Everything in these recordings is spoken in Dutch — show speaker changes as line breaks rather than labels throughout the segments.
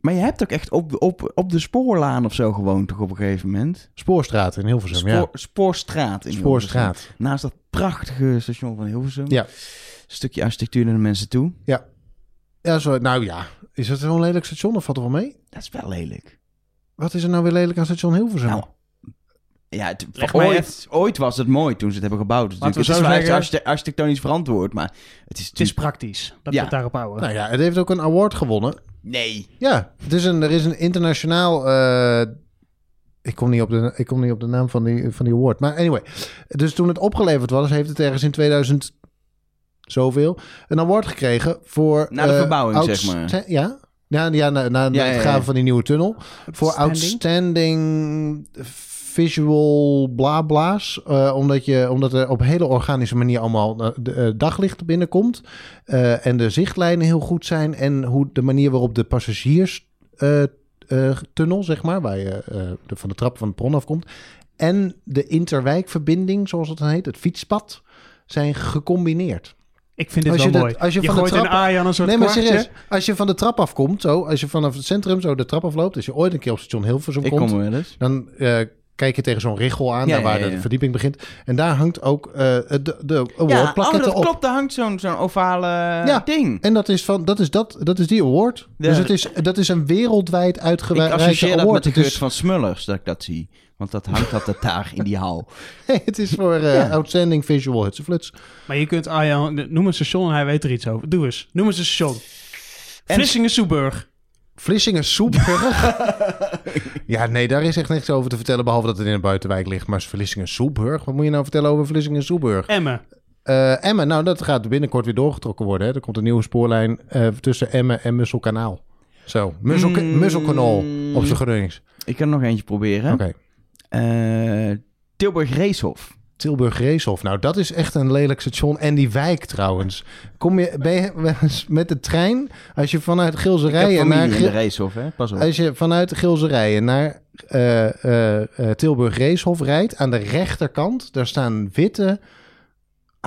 Maar je hebt ook echt op, op, op de spoorlaan of zo gewoond toch op een gegeven moment?
Spoorstraat in Hilversum,
Spoor, Spoorstraat. In
ja.
Hilversum.
Spoorstraat.
Naast dat prachtige station van Hilversum.
Ja.
Stukje architectuur naar de mensen toe.
Ja, zo, nou ja. Is dat zo'n lelijk station of valt er wel mee?
Dat is wel lelijk.
Wat is er nou weer lelijk aan station Hilversum?
Nou, Ja, het-
Leg mij
ooit, ooit was het mooi toen ze het hebben gebouwd. Dus
Laten we
natuurlijk, het is
zo
wel echt
zeggen-
archite- architectonisch verantwoord, maar het is...
Het is praktisch dat
Ja.
we het daarop houden.
nou ja, het heeft ook een award gewonnen.
Nee.
Ja, het is een, er is een internationaal. eh, ik, kom niet op de, ik kom niet op de naam van die, van die award. Maar anyway. Dus toen het opgeleverd was, heeft het ergens in 2000 zoveel een award gekregen voor.
Na de
eh,
verbouwing, zeg
outsta-
maar.
Ja. Ja, ja, na, na, na
Ja,
het
ja,
graven
ja.
van die nieuwe tunnel. Voor outstanding visual bla bla's. Eh, omdat, je, omdat er op hele organische manier allemaal eh, de, eh, daglicht binnenkomt. Eh, en de zichtlijnen heel goed zijn. En hoe de manier waarop de passagierstunnel, zeg maar, waar je eh, de, van de trap van het bron afkomt. En de interwijkverbinding, zoals dat dan heet, het fietspad, zijn gecombineerd.
Ik vind dit
Als
wel
je dat-
mooi.
als je
je
van de
gooit een
trap-
aai aan een soort
Nee, maar
kwartje.
serieus, als je van de trap afkomt, zo, als je vanaf het centrum zo de trap afloopt, als je ooit een keer op station Hilversum
Ik
komt,
kom er wel eens.
dan eh, kijk je tegen zo'n richel aan,
Ja,
daar waar
ja, ja.
de verdieping begint. En daar hangt ook eh, de, de
Ja, oh,
awardplakketten
dat
op.
klopt. Daar hangt zo'n zo'n ovale
Ja.
ding.
En dat is, van, dat, is dat, dat is die award.
Ja,
dus het
dat-
is, dat is een wereldwijd
Ik
uitgereikt award.
associeer dat met de
Het
geurt
is-
van Smullers, dat ik dat zie. Want dat hangt altijd daar in die hal.
het is voor eh,
Ja.
Outstanding Visual Hutsenfluts.
Maar je kunt aai aan... Noem een station en hij weet er iets over. Doe eens. Noem eens een station. Vlissingen-Soeburg.
Vlissingen Soepburg. ja, nee, daar is echt niks over te vertellen, behalve dat het in de buitenwijk ligt. Maar Vlissingen Soepburg, wat moet je nou vertellen over Vlissingen Soepburg?
Emmen.
Eh Emmen, nou, dat gaat binnenkort weer doorgetrokken worden. Hè. Er komt een nieuwe spoorlijn eh, tussen Emmen en Musselkanaal. Zo, Musselka-
Mm.
Musselkanaal op zijn Gronings.
Ik kan er nog eentje proberen.
Oké.
Eh, Tilburg Reeshof.
Tilburg Reeshof. Nou, dat is echt een lelijk station. En die wijk trouwens. Kom je, ben je wel eens met de trein, als je vanuit
Ik heb
Gilserijen naar...
familie in
Gil-
de Reeshof, hè? Pas op.
Als je vanuit Gilserijen naar eh, eh, eh, Tilburg Reeshof rijdt, aan de rechterkant, daar staan witte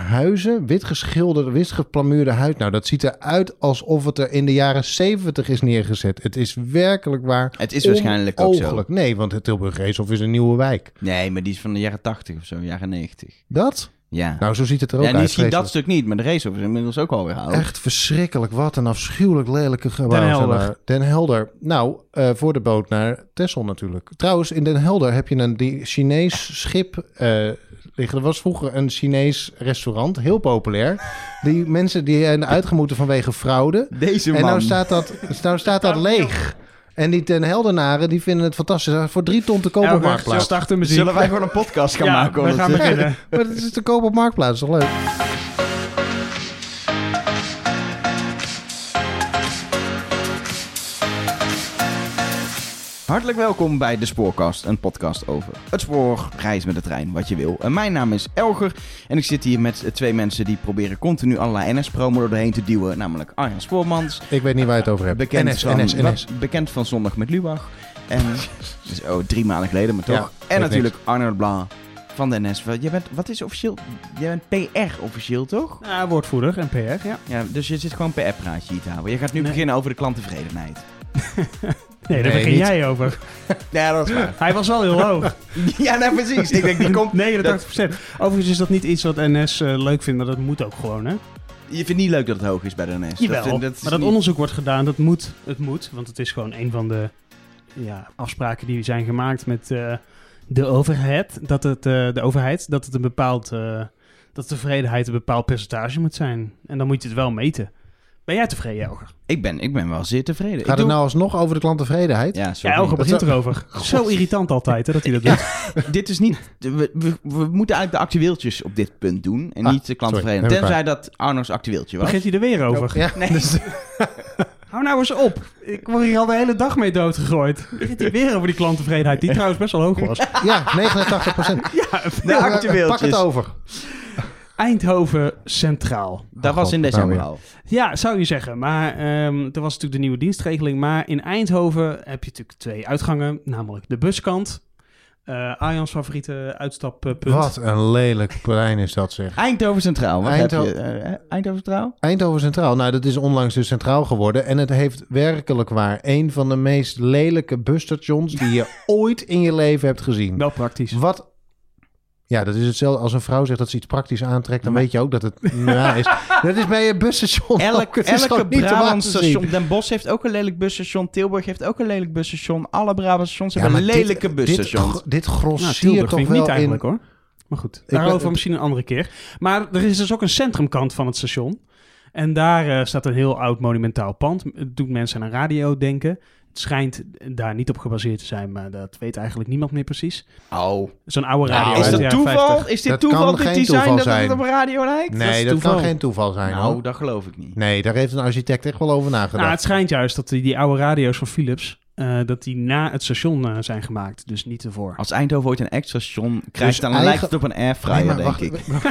huizen, wit geschilderde, wit geplamuurde huid. Nou, dat ziet eruit alsof het er in de jaren 70 is neergezet. Het is werkelijk waar.
Het is waarschijnlijk ook zo.
onogelijk. Nee, want het Tilburg Reeshof is een nieuwe wijk.
Nee, maar die is van de jaren 80 of zo, jaren 90.
Dat?
Ja.
Nou, zo ziet het er ook
ja,
uit.
misschien dat
vreselijk.
stuk niet, maar de Reeshof is inmiddels ook alweer oud.
Echt verschrikkelijk. Wat een afschuwelijk lelijke gebouw.
Oh. Den Helder.
zijn daar. Den Helder. Nou, eh, voor de boot naar Texel natuurlijk. Trouwens, in Den Helder heb je een die Chinees schip eh, liggen. Er was vroeger een Chinees restaurant, heel populair. Die mensen die zijn uitgemoeten vanwege fraude.
Deze man.
En nou staat dat, nou staat dat leeg. En die Den Heldenaren die vinden het fantastisch. Voor drie ton te koop op
Elke
Marktplaats.
start de muziek.
Zullen wij gewoon een podcast gaan
Ja,
maken?
we
omdat-
gaan beginnen.
Maar het is te koop op Marktplaats, toch leuk?
Hartelijk welkom bij De Spoorkast, een podcast over het spoor, reis met de trein, wat je wil. En mijn naam is Elger en ik zit hier met eh, twee mensen die proberen continu allerlei NS-promo er doorheen te duwen. Namelijk Arjan Spoormans,
Ik weet niet waar je het over hebt.
bekend,
NS,
van,
NS, NS.
wat- bekend van Zondag met Lubach. En, dus, oh, drie maanden geleden, maar toch.
Ja, weet
en natuurlijk Arnold Bla van de NS. Wat- Jij bent, wat is officieel? Jij bent PR officieel, toch?
Ja, woordvoerder en PR, ja.
Ja, dus je zit gewoon PR-praatje hier te houden. Je gaat nu
Nee.
beginnen over de klanttevredenheid.
Nee, daar
Nee,
begin
niet.
jij over.
Ja, dat is waar.
Hij was wel heel hoog.
ja, nou precies. Ik denk, die komt...
89 Overigens is dat niet iets wat NS eh, leuk vindt, maar dat moet ook gewoon, hè?
Je vindt niet leuk dat het hoog is bij de NS.
Jawel,
Dus dat, is
maar dat
niet-
onderzoek wordt gedaan, dat moet. Het moet, want het is gewoon een van de ja, afspraken die zijn gemaakt met eh, de overheid. Dat het, eh, de overheid, dat het een bepaald, eh, dat tevredenheid een bepaald percentage moet zijn. En dan moet je het wel meten. Ben jij tevreden, Elger?
ik, ben, ik ben wel zeer tevreden. Ik
Gaat het
doe-
nou alsnog over de klanttevredenheid?
Ja,
Ja,
sorry.
Elger
Dat
begint
zou-
erover. Zo irritant altijd, hè, dat hij dat doet.
dit is niet. We, we, we moeten eigenlijk de actueeltjes op dit punt doen. En
Ah,
niet de klanttevredenheid.
sorry, heb ik
Tenzij dat Arno's actueeltje was.
Begint hij er weer over.
Ja.
Nee.
Hou nou eens op. Ik word hier al de hele dag mee doodgegooid. Begint hij weer over die klanttevredenheid, die trouwens best wel hoog was.
Ja, 89 procent.
Ja,
de
Pak het
actueeltjes.
over.
Eindhoven Centraal.
Dat
Oh,
was
God,
in
nou
december
weer.
al.
Ja, zou je zeggen. Maar ehm, er was natuurlijk de nieuwe dienstregeling. Maar in Eindhoven heb je natuurlijk twee uitgangen. Namelijk de buskant eh Arjan's favoriete uitstappunt.
Wat een lelijk plein is dat zeg.
Eindhoven Centraal. Wat
Eindho-
heb je? Eh, Eindhoven Centraal?
Eindhoven Centraal, nou dat is onlangs dus centraal geworden. En het heeft werkelijk waar een van de meest lelijke busstations die je ooit in je leven hebt gezien.
Wel praktisch.
Wat? Ja, dat is hetzelfde als een vrouw zegt dat ze iets praktisch aantrekt. Dan
Maar-
weet je ook dat het na is. Dat is bij een busstation. ook.
Elk,
Oh, Het is
elke
gewoon niet te laten zien.
Brabantstation. Den Bosch heeft ook een lelijk busstation. Tilburg heeft ook een lelijk busstation. Alle Brabantstations
Ja,
hebben
maar dit-
lelijke busstations.
Dit, gro- dit
Nou,
grosseert
Tilburg
toch
vind ik
wel
niet eigenlijk
in...
hoor. Maar goed,
ben-
daarover misschien een andere keer. Maar er is dus ook een centrumkant van het station. En daar eh, staat een heel oud monumentaal pand. Het doet mensen aan een radio denken. Het schijnt daar niet op gebaseerd te zijn, maar dat weet eigenlijk niemand meer precies.
Oh.
Zo'n oude
Nou,
radio.
is
uit
dat
de
Is dat
jaren
toeval?
50.
Is dit
Dat
toeval,
kan
dit
geen
design,
toeval
dat het
zijn.
op radio lijkt?
Nee,
is
dat, kan
toeval.
geen toeval zijn.
nou,
hoor.
dat geloof ik niet.
Nee, daar heeft een architect echt wel over nagedacht.
Nou, het schijnt juist dat die, die oude radio's van Philips, eh, dat die na het station eh, zijn gemaakt. Dus niet ervoor.
Als Eindhoven ooit een extra station krijgt, dan
eigen-
lijkt het op een airfryer,
Dus Nee, maar
denk
wacht,
ik.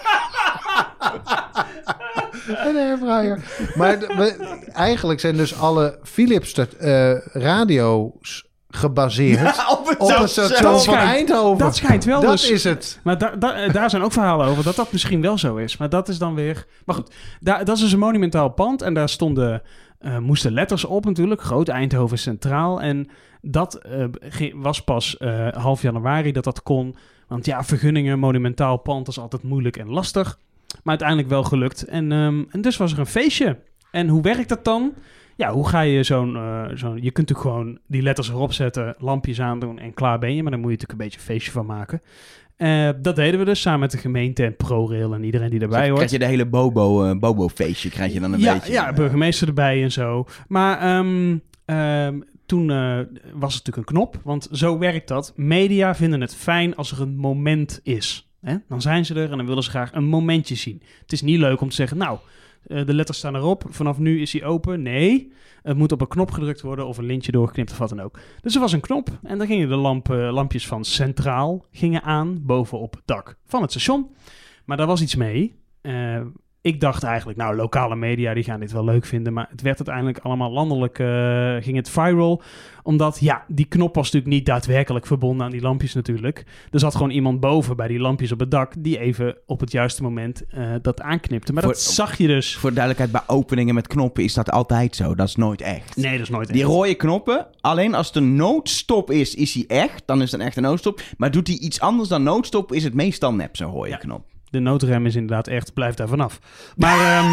Een airfryer. Maar d- we- eigenlijk zijn dus alle Philips sta- eh, radio's gebaseerd
op
op het station
dat
van
schijnt-
Eindhoven.
dat schijnt wel
Dat
dus.
is het.
Maar da- da- eh, daar zijn ook verhalen over dat dat misschien wel zo is. Maar dat is dan weer. Maar goed, daar, dat is dus een monumentaal pand. En daar stonden, eh, moesten letters op natuurlijk. Groot Eindhoven Centraal. En dat eh, ge- was pas eh, half januari dat dat kon. Want ja, vergunningen, monumentaal pand is altijd moeilijk en lastig. Maar uiteindelijk wel gelukt. En, ehm, en dus was er een feestje. En hoe werkt dat dan? Ja, hoe ga je zo'n... eh, zo'n- je kunt natuurlijk gewoon die letters erop zetten, lampjes aandoen en klaar ben je. Maar dan moet je natuurlijk een beetje een feestje van maken. Eh, dat deden we dus samen met de gemeente en ProRail en iedereen die erbij hoort.
krijg je de hele Bobo, eh, Bobo-feestje, krijg je dan een
ja,
beetje. eh,
Ja, burgemeester erbij en zo. Maar ehm, ehm, toen eh, was het natuurlijk een knop, want zo werkt dat. Media vinden het fijn als er een moment is. Hè? Dan zijn ze er en dan willen ze graag een momentje zien. Het is niet leuk om te zeggen, nou, eh, de letters staan erop, vanaf nu is hij open. Nee, het moet op een knop gedrukt worden of een lintje doorgeknipt of wat dan ook. Dus er was een knop en dan gingen de lampen, lampjes van centraal gingen aan bovenop het dak van het station. Maar daar was iets mee. Eh, ik dacht eigenlijk, nou, lokale media die gaan dit wel leuk vinden. Maar het werd uiteindelijk allemaal landelijk, eh, ging het viral. Omdat, ja, die knop was natuurlijk niet daadwerkelijk verbonden aan die lampjes natuurlijk. Er zat gewoon iemand boven bij die lampjes op het dak... die even op het juiste moment eh, dat aanknipte. Maar dat
Voor-
zag je dus.
Voor de duidelijkheid, bij openingen met knoppen is dat altijd zo. Dat is nooit echt.
Nee, dat is nooit
Die
echt.
rode knoppen, alleen als de noodstop is, is hij echt. Dan is het een echte noodstop. Maar doet hij iets anders dan noodstop, is het meestal nep, zo'n rode
Ja.
knop.
De noodrem is inderdaad echt, blijf daar vanaf. Maar ehm,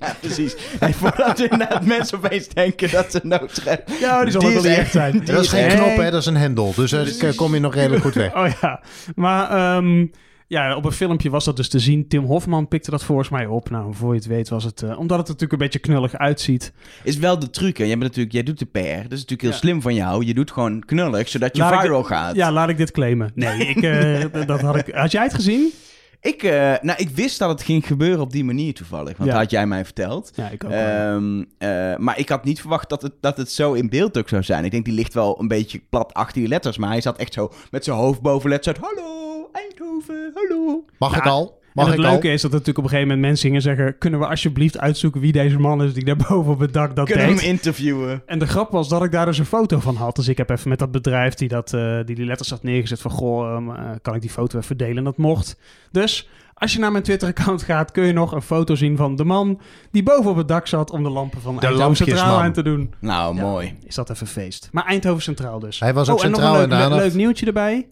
ja, precies. En voordat inderdaad mensen opeens denken dat ze noodrem...
ja, die zal ook wel niet echt zijn.
Dat is geen
Nee.
knop, hè? dat is een hendel. Dus daar kom je nog redelijk goed weg.
Oh ja, maar ehm, ja, op een filmpje was dat dus te zien. Tim Hofman pikte dat volgens mij op. Nou, voor je het weet was het... eh, omdat het er natuurlijk een beetje knullig uitziet.
Is wel de truc, hè. Jij, bent natuurlijk, jij doet de PR. Dat is natuurlijk heel
Ja.
slim van jou. Je doet gewoon knullig, zodat je
Laat ik
viral gaat.
Ja, laat ik dit claimen. Nee, ik, eh, dat had ik... Had jij het gezien?
Ik, eh, nou, ik wist dat het ging gebeuren op die manier toevallig. Want
Ja.
dat had jij mij verteld.
Ja, ik ook.
Ehm, eh, maar ik had niet verwacht dat het, dat het zo in beeld ook zou zijn. Ik denk, die ligt wel een beetje plat achter die letters. Maar hij zat echt zo met zijn hoofd boven letters. uit, Hallo, Eindhoven, hallo.
Mag
Nou,
ik al?
en
Mag
het
ik
leuke
al?
is dat er natuurlijk op een gegeven moment mensen gingen zeggen... kunnen we alsjeblieft uitzoeken wie deze man is die daar boven op het dak dat
Kunnen
deed?
we hem interviewen?
En de grap was dat ik daar dus een foto van had. Dus ik heb even met dat bedrijf die dat, eh, die, die letters had neergezet van... Goh, ehm, eh, kan ik die foto even delen? En dat mocht. Dus als je naar mijn Twitter-account gaat... kun je nog een foto zien van de man die boven op het dak zat... om de lampen van Eindhoven
lampjesman.
Centraal aan te doen.
Nou,
Ja.
mooi.
Is dat even feest. Maar Eindhoven Centraal dus.
Hij was ook
oh, en nog
centraal
een
in de
leuk, le-
aandacht.
leuk nieuwtje erbij.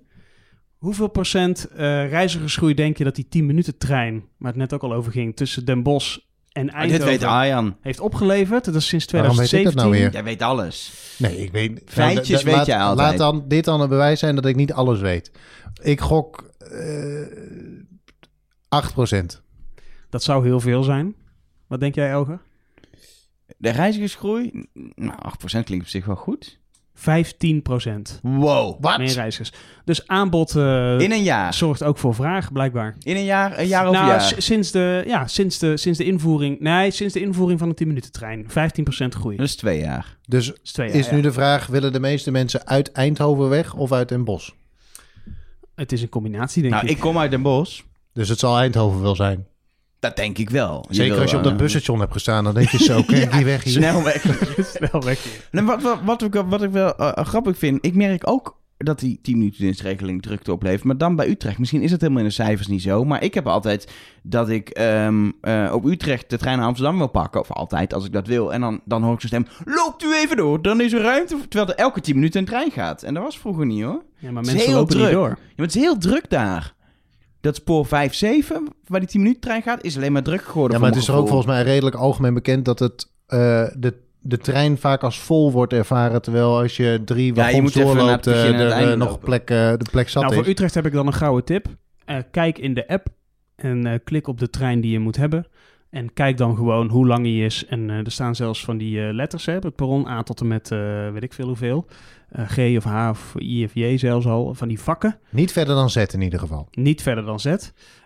Hoeveel procent eh, reizigersgroei denk je dat die 10-minuten trein... waar het net ook al over ging, tussen Den Bosch en
Maar Ah, dit
Eindhoven...
weet Arjan.
heeft opgeleverd. Dat is sinds
Waarom weet ik
2017.
dat nou weer?
Jij weet alles.
Nee, ik weet...
Feitjes
Nou, dat-
weet
laat,
jij altijd.
Laat dan, dit dan een bewijs zijn dat ik niet alles weet. Ik gok eh 8%.
Dat zou heel veel zijn. Wat denk jij, Elger?
De reizigersgroei? Nou, 8% klinkt op zich wel goed.
15 procent
Wow.
meer
Wat?
reizigers. Dus aanbod eh,
In een jaar.
zorgt ook voor vraag, blijkbaar.
In een jaar, een jaar over
nou,
jaar.
s- sinds, de, ja, sinds, de, sinds de invoering... Nee, sinds de invoering van de 10-minuten-trein. 15 procent groei.
Dat is twee jaar.
Dus
Dat is twee jaar,
is
ja.
nu de vraag, willen de meeste mensen uit Eindhoven weg of uit Den Bosch?
Het is een combinatie, denk
nou,
ik.
ik kom uit Den Bosch.
Dus het zal Eindhoven wel zijn.
Dat denk ik wel.
Zeker
wil,
als je op dat
eh,
busstation hebt gestaan, dan denk je zo, ken ik die weg hier?
Snel weg.
Snel weg hier.
En wat, wat, wat, ik, wat ik wel eh, grappig eh, vind, ik merk ook dat die 10 minuten dienstregeling drukte oplevert. Maar dan bij Utrecht. Misschien is het helemaal in de cijfers niet zo. Maar ik heb altijd dat ik ehm, eh, op Utrecht de trein naar Amsterdam wil pakken. Of altijd, als ik dat wil. En dan, dan hoor ik zo'n stem. Loopt u even door, dan is er ruimte. voor-" Terwijl er elke 10 minuten een trein gaat. En dat was vroeger niet hoor.
Ja, maar
Het is
mensen
heel
lopen niet
druk.
door.
Ja, maar het is heel druk daar. Dat spoor 5-7, waar die 10 minuten trein gaat, is alleen maar druk geworden.
Ja,
voor
maar het is
mijn
er ook
gevoel.
volgens mij redelijk algemeen bekend dat het, eh, de, de trein vaak als vol wordt ervaren. Terwijl als je drie
Ja, je
wagons
moet even naar het
doorloopt, eh,
begin en
er
het
eh,
einde
nog
lopen.
plek, eh, de plek zat
Nou,
is.
voor Utrecht heb ik dan een gouden tip. Eh, kijk in de app en eh, klik op de trein die je moet hebben. En kijk dan gewoon hoe lang die is. En eh, er staan zelfs van die eh, letters, hè, op het perron A tot en met eh, weet ik veel hoeveel. Eh, G of H of I of J zelfs al, van die vakken.
Niet verder dan Z in ieder geval.
Niet verder dan Z.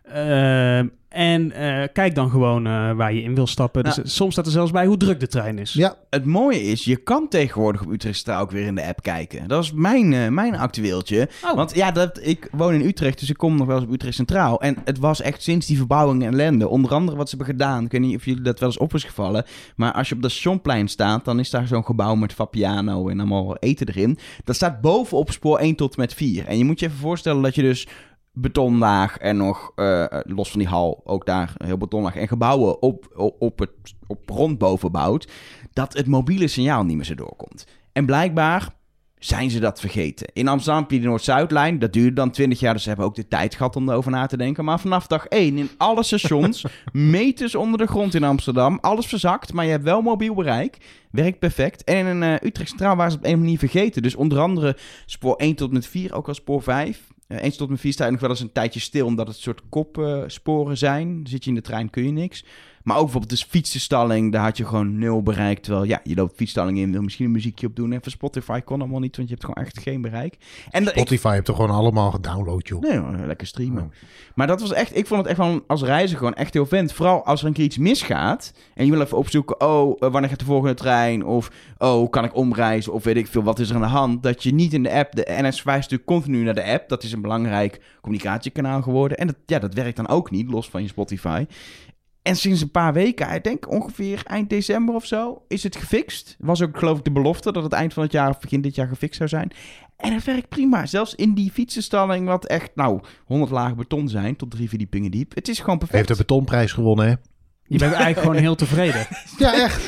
Ehm, en eh, kijk dan gewoon eh, waar je in wil stappen.
Nou.
Dus, soms staat er zelfs bij hoe druk de trein is.
Ja,
Het mooie is, je kan tegenwoordig op Utrecht Centraal ook weer in de app kijken. Dat is mijn, eh, mijn actueeltje.
Oh.
Want ja, dat, ik woon in Utrecht, dus ik kom nog wel eens op Utrecht Centraal. En het was echt sinds die verbouwing en ellende. Onder andere wat ze hebben gedaan. Ik weet niet of jullie dat wel eens op is gevallen. Maar als je op dat stationplein staat, dan is daar zo'n gebouw met Vapiano en allemaal eten erin. Dat staat bovenop spoor 1 tot en met 4. En je moet je even voorstellen dat je dus betonlaag en nog, eh, los van die hal, ook daar heel betonlaag. En gebouwen op, op, op het op rond boven bouwt. Dat het mobiele signaal niet meer zo doorkomt. En blijkbaar zijn ze dat vergeten. In Amsterdam heb je de Noord-Zuidlijn. Dat duurde dan 20 jaar, dus ze hebben ook de tijd gehad om erover na te denken. Maar vanaf dag 1 in alle stations, meters onder de grond in Amsterdam. Alles verzakt, maar je hebt wel mobiel bereik. Werkt perfect. En in eh, Utrecht Centraal waren ze het op een manier vergeten. Dus onder andere spoor 1 tot en met 4, ook al spoor 5. Eh, 1 tot en met 4 sta je nog wel eens een tijdje stil, omdat het soort kopsporen zijn. Dan Zit je in de trein, kun je niks. Maar ook bijvoorbeeld de fietsenstalling, daar had je gewoon nul bereik. Terwijl ja, je loopt fietsstalling in, wil misschien een muziekje op doen. En voor Spotify kon allemaal niet, want je hebt gewoon echt geen bereik. En dat, ik,
Spotify hebt er gewoon allemaal gedownload, joh.
nee, hoor, lekker streamen.
Oh.
Maar dat was echt, ik vond het echt wel als reiziger gewoon echt heel vent. Vooral als er een keer iets misgaat en je wil even opzoeken, oh, eh, wanneer gaat de volgende trein? Of, oh, kan ik omreizen? Of weet ik veel, wat is er aan de hand? Dat je niet in de app, de NS verwijst natuurlijk continu naar de app. Dat is een belangrijk communicatiekanaal geworden. En dat, ja, dat werkt dan ook niet, los van je Spotify. En sinds een paar weken, ik denk ongeveer eind december of zo, is het gefixt. Was ook geloof ik de belofte dat het eind van het jaar of begin dit jaar gefixt zou zijn. En het werkt prima. Zelfs in die fietsenstalling, wat echt, nou, 100 lagen beton zijn, tot drie verdiepingen diep. Het is gewoon perfect.
Heeft de betonprijs gewonnen, hè?
Je bent eigenlijk gewoon heel tevreden.
Ja, echt.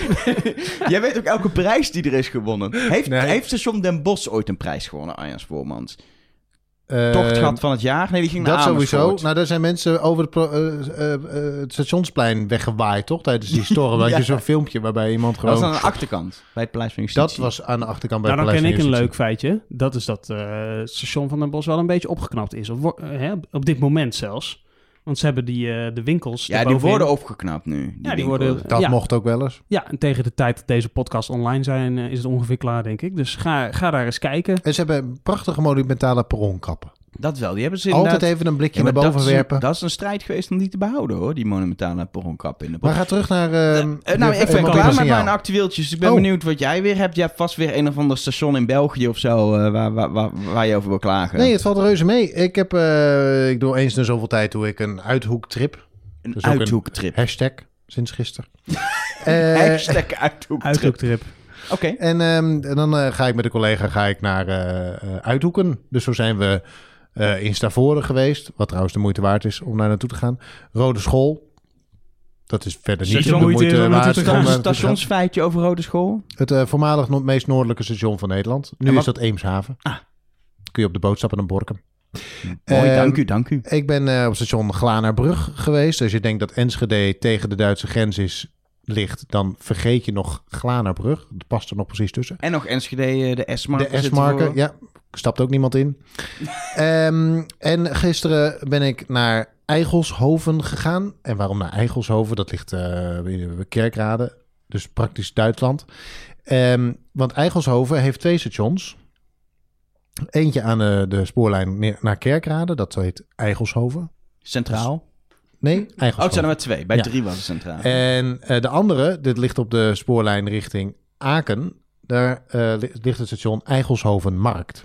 Jij weet ook elke prijs die er is gewonnen. Heeft,
Nee.
heeft station Den Bosch ooit een prijs gewonnen, Arjans Voormans?
Eh,
Tochtgat van het jaar? Nee, die ging naar
dat sowieso.
Amersfoort.
Nou, daar zijn mensen over het, pro- eh, eh, eh, het stationsplein weggewaaid, toch? Tijdens die storm. Dat je zo'n filmpje waarbij iemand
dat
gewoon...
was aan de achterkant, bij het Paleis van Justitie.
Dat was aan de achterkant bij
nou, dan
het
ken ik
Paleis
een
van
leuk
Justitie.
feitje. Dat is dat eh, het station van Den Bosch wel een beetje opgeknapt is. Of, wo- eh, hè, op dit moment zelfs. Want ze hebben die, eh, de winkels
Ja, die
daarbovenin.
worden opgeknapt nu. Die
Ja, die
winkels.
worden...
Dat
ja,
mocht ook wel eens.
ja, en tegen de tijd dat deze podcast online zijn, eh, is het ongeveer klaar, denk ik. Dus ga, ga daar eens kijken.
En ze hebben prachtige monumentale perronkappen.
Dat wel, die hebben ze
Altijd
inderdaad-
even een blikje
Ja, maar
naar boven
dat is een-
werpen.
Dat is een strijd geweest om die te behouden, hoor. Die monumentale perronkap in de
Maar
bocht.
ga terug naar... ehm,
Eh, nou,
de-
ik
het
ben
mobiele
klaar met
signaal.
mijn actueeltjes. Ik ben
Oh.
benieuwd wat jij weer hebt. Je hebt vast weer een of ander station in België of zo... eh, waar, waar, waar, waar je over wil klagen.
Nee, het valt reuze mee. Ik, heb, eh, ik doe eens in zoveel tijd doe ik een uithoektrip.
een
dus ook een-
uithoektrip.
Hashtag, sinds gisteren. Eh,
Hashtag uithoektrip.
Uithoektrip.
Oké.
En, ehm, en dan eh, ga ik met een collega ga ik naar eh, eh, Uithoeken. Dus zo zijn we eh, in Stavoren geweest. Wat trouwens de moeite waard is om daar naartoe te gaan. Rode School. Dat is verder niet
Station
de
moeite
moeite
om naartoe
waard.
te
om
gaan.
daar
Een
naartoe te gaan.
stationsfeitje over Rode School.
Het eh, voormalig no- meest noordelijke station van Nederland. Nu
En wat-
is dat Eemshaven.
Ah.
Kun je op de boot stappen naar Borkum.
Mooi,
Ehm,
dank u, dank u.
Ik ben eh, op station Glanerbrug geweest. Als je denkt dat Enschede tegen de Duitse grens is, ligt, dan vergeet je nog Glanerbrug. Dat past er nog precies tussen.
En nog Enschede, eh, de S-marken.
De
zitten
S-marken,
voor.
ja. Stapt ook niemand in. Ehm, en gisteren ben ik naar Eigelshoven gegaan. En waarom naar Eigelshoven? Dat ligt eh in Kerkrade, dus praktisch Duitsland. Ehm, want Eigelshoven heeft twee stations. Eentje aan eh, de spoorlijn neer- naar Kerkrade, dat heet Eigelshoven.
Centraal.
Nee,
Oh, het zijn
Eigelshoven.
er maar twee. Bij
Ja.
drie was het centraal.
En eh, de andere, dit ligt op de spoorlijn richting Aken. Daar eh, li- ligt het station Eigelshoven-Markt.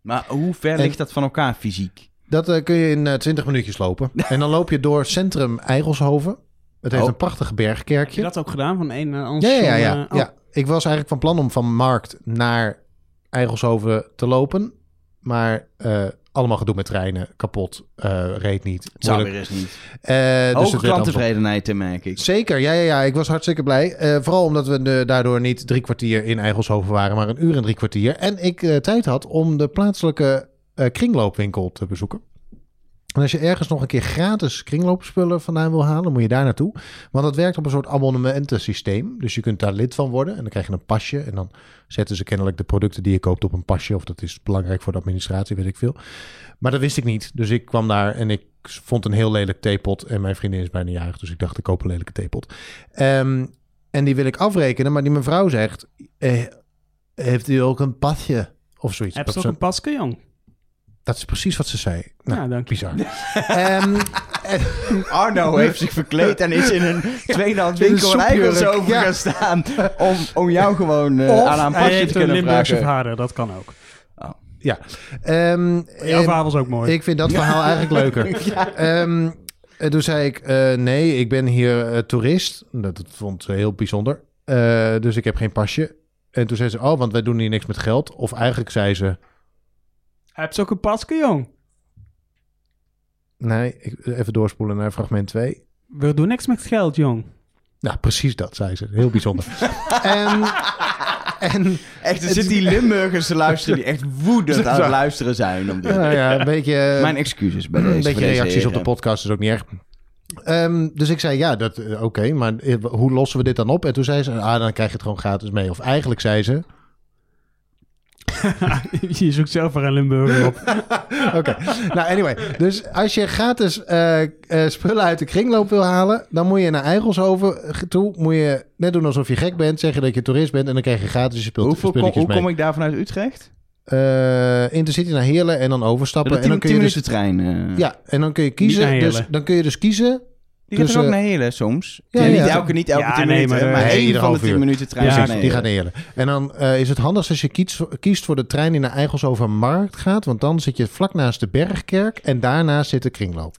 maar hoe ver
en-
ligt dat van elkaar fysiek?
Dat eh, kun je in eh, 20 minuutjes lopen. En dan loop je door centrum Eigelshoven. Het heeft
Oh.
een prachtig
Heb je
bergkerkje.
dat ook gedaan, van een naar een ander
Ja, ja, ja,
station,
ja.
eh, oh.
ja. Ik was eigenlijk van plan om van Markt naar Eigelshoven te lopen. Maar eh, allemaal gedoe met treinen, kapot, eh, reed niet.
Zou
moeilijk.
weer eens niet.
Eh, dus
Hoge
het werd Amsterdam.
klanttevredenheid, eh, merk ik.
Zeker, ja, ja, ja. Ik was hartstikke blij. Eh, vooral omdat we eh, daardoor niet drie kwartier in Eigelshoven waren, maar een uur en drie kwartier. En ik eh, tijd had om de plaatselijke eh, kringloopwinkel te bezoeken. En als je ergens nog een keer gratis kringloopspullen vandaan wil halen, moet je daar naartoe. Want dat werkt op een soort abonnementensysteem. Dus je kunt daar lid van worden en dan krijg je een pasje. En dan zetten ze kennelijk de producten die je koopt op een pasje. Of dat is belangrijk voor de administratie, weet ik veel. Maar dat wist ik niet. Dus ik kwam daar en ik vond een heel lelijk theepot. En mijn vriendin is bijna jarig, dus ik dacht ik koop een lelijke theepot. Ehm, en die wil ik afrekenen, maar die mevrouw zegt... eh, heeft u ook een pasje? Of zoiets.
Heb
Dat,
je ook
ze-
een paske, jong?
dat is precies wat ze zei. Nou,
ja, dank je.
bizar. Ehm,
Arno heeft zich verkleed en is in een tweedehands
In een
winkel in Eikelshoven
soepjurk, ja.
gaan staan. Om, om jou gewoon eh,
Of
aan een
Hij
pasje te
heeft een
kunnen
Limburgse
vragen.
vader, dat kan ook.
ehm,
Jouw
en-
verhaal was ook mooi.
Ik vind dat verhaal eigenlijk leuker. Ehm, eh, toen zei ik, eh, nee, ik ben hier eh, toerist. Dat, dat vond ze heel bijzonder. Eh, dus ik heb geen pasje. En toen zei ze, oh, want wij doen hier niks met geld. Of eigenlijk zei ze,
Heb je ook een paske, jong?
nee, ik, even doorspoelen naar fragment 2.
We doen niks met geld, jong.
Nou, precies dat, zei ze. Heel bijzonder. en, en
Echt, er zitten die Limburgers te luisteren die echt woedend aan het luisteren zijn. Om dit.
nou ja, een beetje...
Mijn excuses bij deze.
een
voor
beetje
deze
reacties op de
heren.
podcast is ook niet erg. Ehm, dus ik zei, ja, dat eh, oké, maar eh, hoe lossen we dit dan op? En toen zei ze, ah, dan krijg je het gewoon gratis mee. Of eigenlijk zei ze,
je zoekt zelf maar een Limburger op.
oké. nou, anyway. Dus als je gratis eh, eh, spullen uit de kringloop wil halen, dan moet je naar Eigelshoven toe. Moet je net doen alsof je gek bent, zeggen dat je toerist bent en dan krijg je gratis je spul,
Hoeveel kom-
spulletjes
hoe
mee.
kom ik daar vanuit Utrecht?
Eh, Intercity naar Heerlen en dan overstappen.
Dat
en
tien,
dan kun
tien
je
minuten
dus,
trein. eh.
ja, en dan kun je
Niet naar
kiezen. Dus,
Heerlen.
dan kun je dus kiezen.
Die gaat
dus,
er ook
eh,
naar Helen soms.
ja,
Ja,
ja,
niet
ja.
elke, niet elke
Ja,
tien
nee,
minuten,
maar,
maar,
eh,
één van de
anderhalf
tien
uur.
minuten trein
Ja,
gaat
Precies,
naar
die
Heerlen.
gaan eerder. En dan eh, is het handig als je kiest, kiest voor de trein die naar Eigelshoven Markt gaat. Want dan zit je vlak naast de Bergkerk en daarnaast zit de kringloop.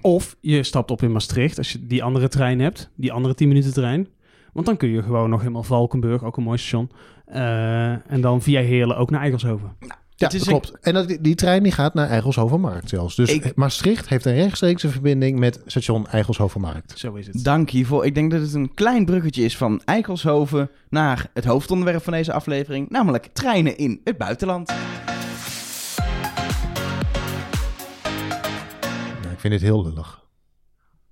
Of je stapt op in Maastricht als je die andere trein hebt, die andere 10 minuten trein. Want dan kun je gewoon nog helemaal Valkenburg, ook een mooi station. eh, en dan via Heerlen ook naar Eigelshoven.
Ja,
Het is
dat klopt. En dat, die trein die gaat naar Eigelshoven Markt zelfs. Dus
Ik-
Maastricht heeft een rechtstreekse verbinding met station Eigelshoven Markt.
Zo is het.
Dank hiervoor. Ik denk dat het een klein bruggetje is van Eikelshoven naar het hoofdonderwerp van deze aflevering, namelijk treinen in het buitenland.
Nou, ik vind dit heel lullig.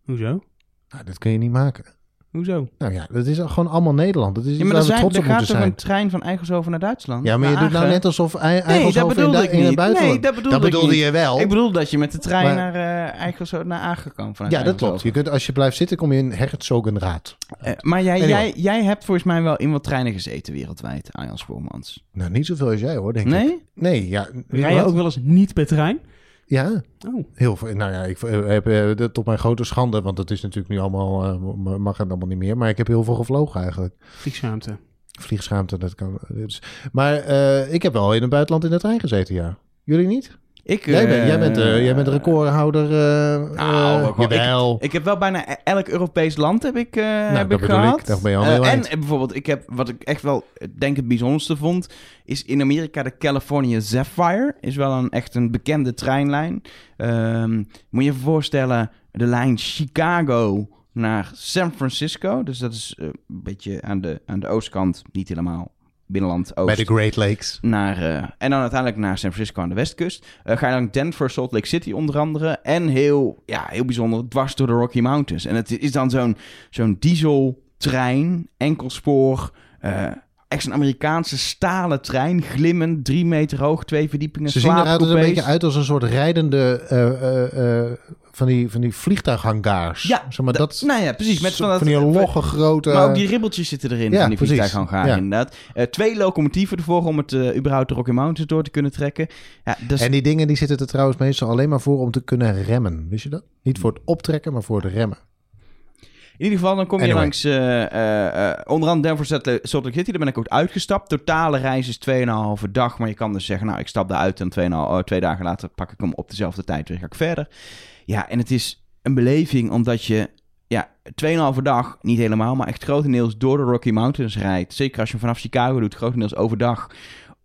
Hoezo?
Nou, dat kun je niet maken.
Hoezo?
Nou ja, dat is gewoon allemaal Nederland. Dat is iets
Ja, maar er,
waar we
zijn,
trots
er
op
gaat
moeten
toch
zijn.
een trein van Eikelshoven naar Duitsland?
Ja, maar je
Naar
doet nou
Agen?
net alsof Ei-
Nee, dat
Eigelshoven in,
bedoelde
du-
ik
in het
niet.
buitenland.
Nee, dat bedoelde,
dat
ik
bedoelde
niet.
je wel.
Ik bedoel dat je met de trein
Maar-
naar eh Eikelshoven naar Agen kan vanuit
ja, dat klopt.
Eikelshoven.
Je kunt, als je blijft zitten, kom je in Herzogenraad.
Eh, maar jij,
Anyway.
jij, jij hebt volgens mij wel in wat treinen gezeten wereldwijd, Arjan Spoormans.
Nou, niet zoveel als jij hoor, denk ik.
Nee?
Nee, ja.
Rij je
wat?
ook wel eens niet per trein?
Ja,
Oh,
heel veel. Nou ja, ik eh, heb eh, dat tot mijn grote schande, want dat is natuurlijk nu allemaal, eh, m- mag het allemaal niet meer. Maar ik heb heel veel gevlogen eigenlijk.
vliegschaamte.
Vliegschaamte, dat kan. dus- Maar eh, ik heb wel in het buitenland in de trein gezeten, ja. Jullie niet?
Ik,
Jij, bent,
eh,
jij, bent, eh, jij bent recordhouder. eh
Nou,
eh,
ik- ik-
jawel.
Ik heb wel bijna e- elk Europees land heb ik, eh heb
Nou, dat
ik
bedoel
gehad.
ik. Daar ben je al
Eh,
heel
en
eind.
eh, bijvoorbeeld, ik heb, wat ik echt wel eh, denk het bijzonderste vond, is in Amerika de California Zephyr. Is wel een, echt een bekende treinlijn. Ehm, moet je je voorstellen, de lijn Chicago naar San Francisco. Dus dat is eh, een beetje aan de, aan de oostkant, niet helemaal binnenland oost
Bij de Great Lakes.
naar, eh, en dan uiteindelijk naar San Francisco aan de westkust. Eh, ga je dan Denver, Salt Lake City onder andere. En heel, ja, heel bijzonder, dwars door de Rocky Mountains. En het is dan zo'n zo'n dieseltrein, enkelsporig. eh echt een Amerikaanse stalen trein, glimmend, drie meter hoog, twee verdiepingen.
Ze zien eruit een
slaapcoupés.
beetje uit als een soort rijdende eh, eh, eh, van, die, van die vliegtuighangaars.
Ja,
zeg maar, dat,
Nou ja, precies. Met
van,
van dat,
die logge grote...
Maar ook die ribbeltjes zitten erin
Ja,
van die
precies.
vliegtuighangaar,
Ja.
inderdaad. Eh, twee locomotieven ervoor om het eh, überhaupt de Rocky Mountains door te kunnen trekken. Ja, dat is
En die dingen die zitten er trouwens meestal alleen maar voor om te kunnen remmen. Wist je dat? Niet voor het optrekken, maar voor het remmen.
In ieder geval, dan kom je
Anyway.
langs eh, eh, eh, onder andere Denver Salt Lake Salt Lake City. Daar ben ik ook uitgestapt. Totale reis is 2,5 dag. Maar je kan dus zeggen, nou, ik stap daaruit en 2,5 eh, twee dagen later pak ik hem op dezelfde tijd weer. Ga ik verder. Ja, en het is een beleving omdat je ja, 2,5 dag, niet helemaal, maar echt grotendeels door de Rocky Mountains rijdt. Zeker als je hem vanaf Chicago doet, grotendeels overdag.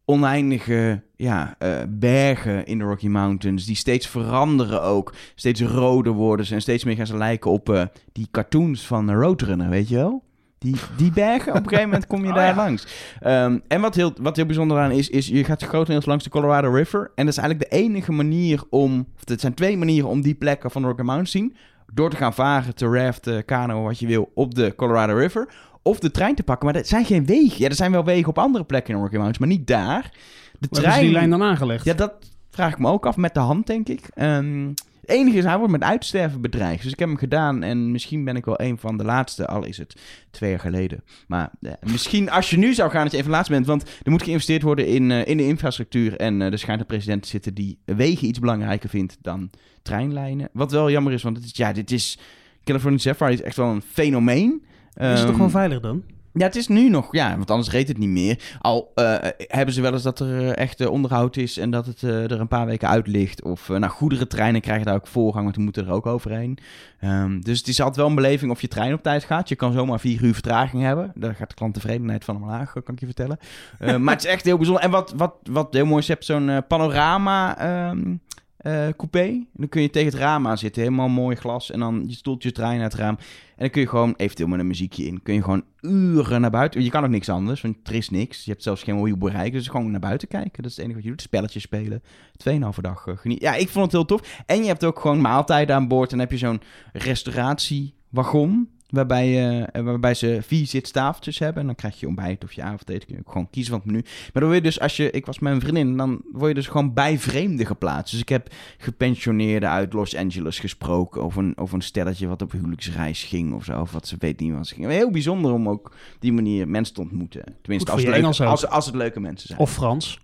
oneindige ja, eh, bergen in de Rocky Mountains. Die steeds veranderen ook. Steeds roder worden ze. En steeds meer gaan ze lijken op eh, die cartoons van Roadrunner, weet je wel? Die, die bergen, op een gegeven moment kom je
Oh,
daar
ja.
langs. Ehm, en wat heel, wat heel bijzonder aan is, is je gaat grotendeels langs de Colorado River. En dat is eigenlijk de enige manier om... Of het zijn twee manieren om die plekken van de Rocky Mountains te zien. Door te gaan varen, te raften, kano, wat je wil, op de Colorado River of de trein te pakken. Maar er zijn geen wegen. Ja, er zijn wel wegen op andere plekken in Rocky Mountains, maar niet daar. De
Waar hebben ze die lijn
trein...
dan aangelegd?
Ja, dat vraag ik me ook af met de hand, denk ik. Ehm, het enige is, hij wordt met uitsterven bedreigd. Dus ik heb hem gedaan en misschien ben ik wel een van de laatste. Al is het twee jaar geleden. Maar eh, misschien als je nu zou gaan dat je een van de laatste bent. Want er moet geïnvesteerd worden in, eh, in de infrastructuur. En eh er schijnt een president te zitten die wegen iets belangrijker vindt dan treinlijnen. Wat wel jammer is, want het is, ja, dit is... California Sapphire is echt wel een fenomeen.
Is het toch
Ehm,
gewoon veilig dan?
ja, het is nu nog, ja, want anders reed het niet meer. Al eh, hebben ze wel eens dat er eh, echt eh, onderhoud is en dat het eh, er een paar weken uit ligt. Of eh nou, goederentreinen krijgen daar ook voorrang, want die moeten er ook overheen. Ehm, dus het is altijd wel een beleving of je trein op tijd gaat. Je kan zomaar vier uur vertraging hebben. Daar gaat de klanttevredenheid van omlaag, kan ik je vertellen. Eh, maar het is echt heel bijzonder. En wat, wat, wat heel mooi is, je hebt zo'n eh, panorama ehm, eh, coupé. En dan kun je tegen het raam aan zitten, helemaal mooi glas. En dan je stoeltje draaien naar het raam. En dan kun je gewoon, eventueel met een muziekje in, kun je gewoon uren naar buiten. Je kan ook niks anders, want er is niks. Je hebt zelfs geen mobiel bereik, dus gewoon naar buiten kijken. Dat is het enige wat je doet. Spelletjes spelen. Tweeënhalve dag eh, genieten. Ja, ik vond het heel tof. En je hebt ook gewoon maaltijden aan boord. En dan heb je zo'n restauratiewagon. Waarbij, eh, eh, waarbij ze vier zitstafeltjes hebben. En dan krijg je ontbijt of je avondeten. Kun je ook gewoon kiezen van het menu. Maar dan word je dus, als je, ik was met mijn vriendin, dan word je dus gewoon bij vreemden geplaatst. Dus ik heb gepensioneerden uit Los Angeles gesproken. Of een, of een stelletje wat op huwelijksreis ging of zo. Of wat ze weet niet wat ze gingen. Heel bijzonder om ook op die manier mensen te ontmoeten. Tenminste,
voor
als
je
het, leuke,
Engels ook.
als, als het leuke mensen zijn.
Of Frans?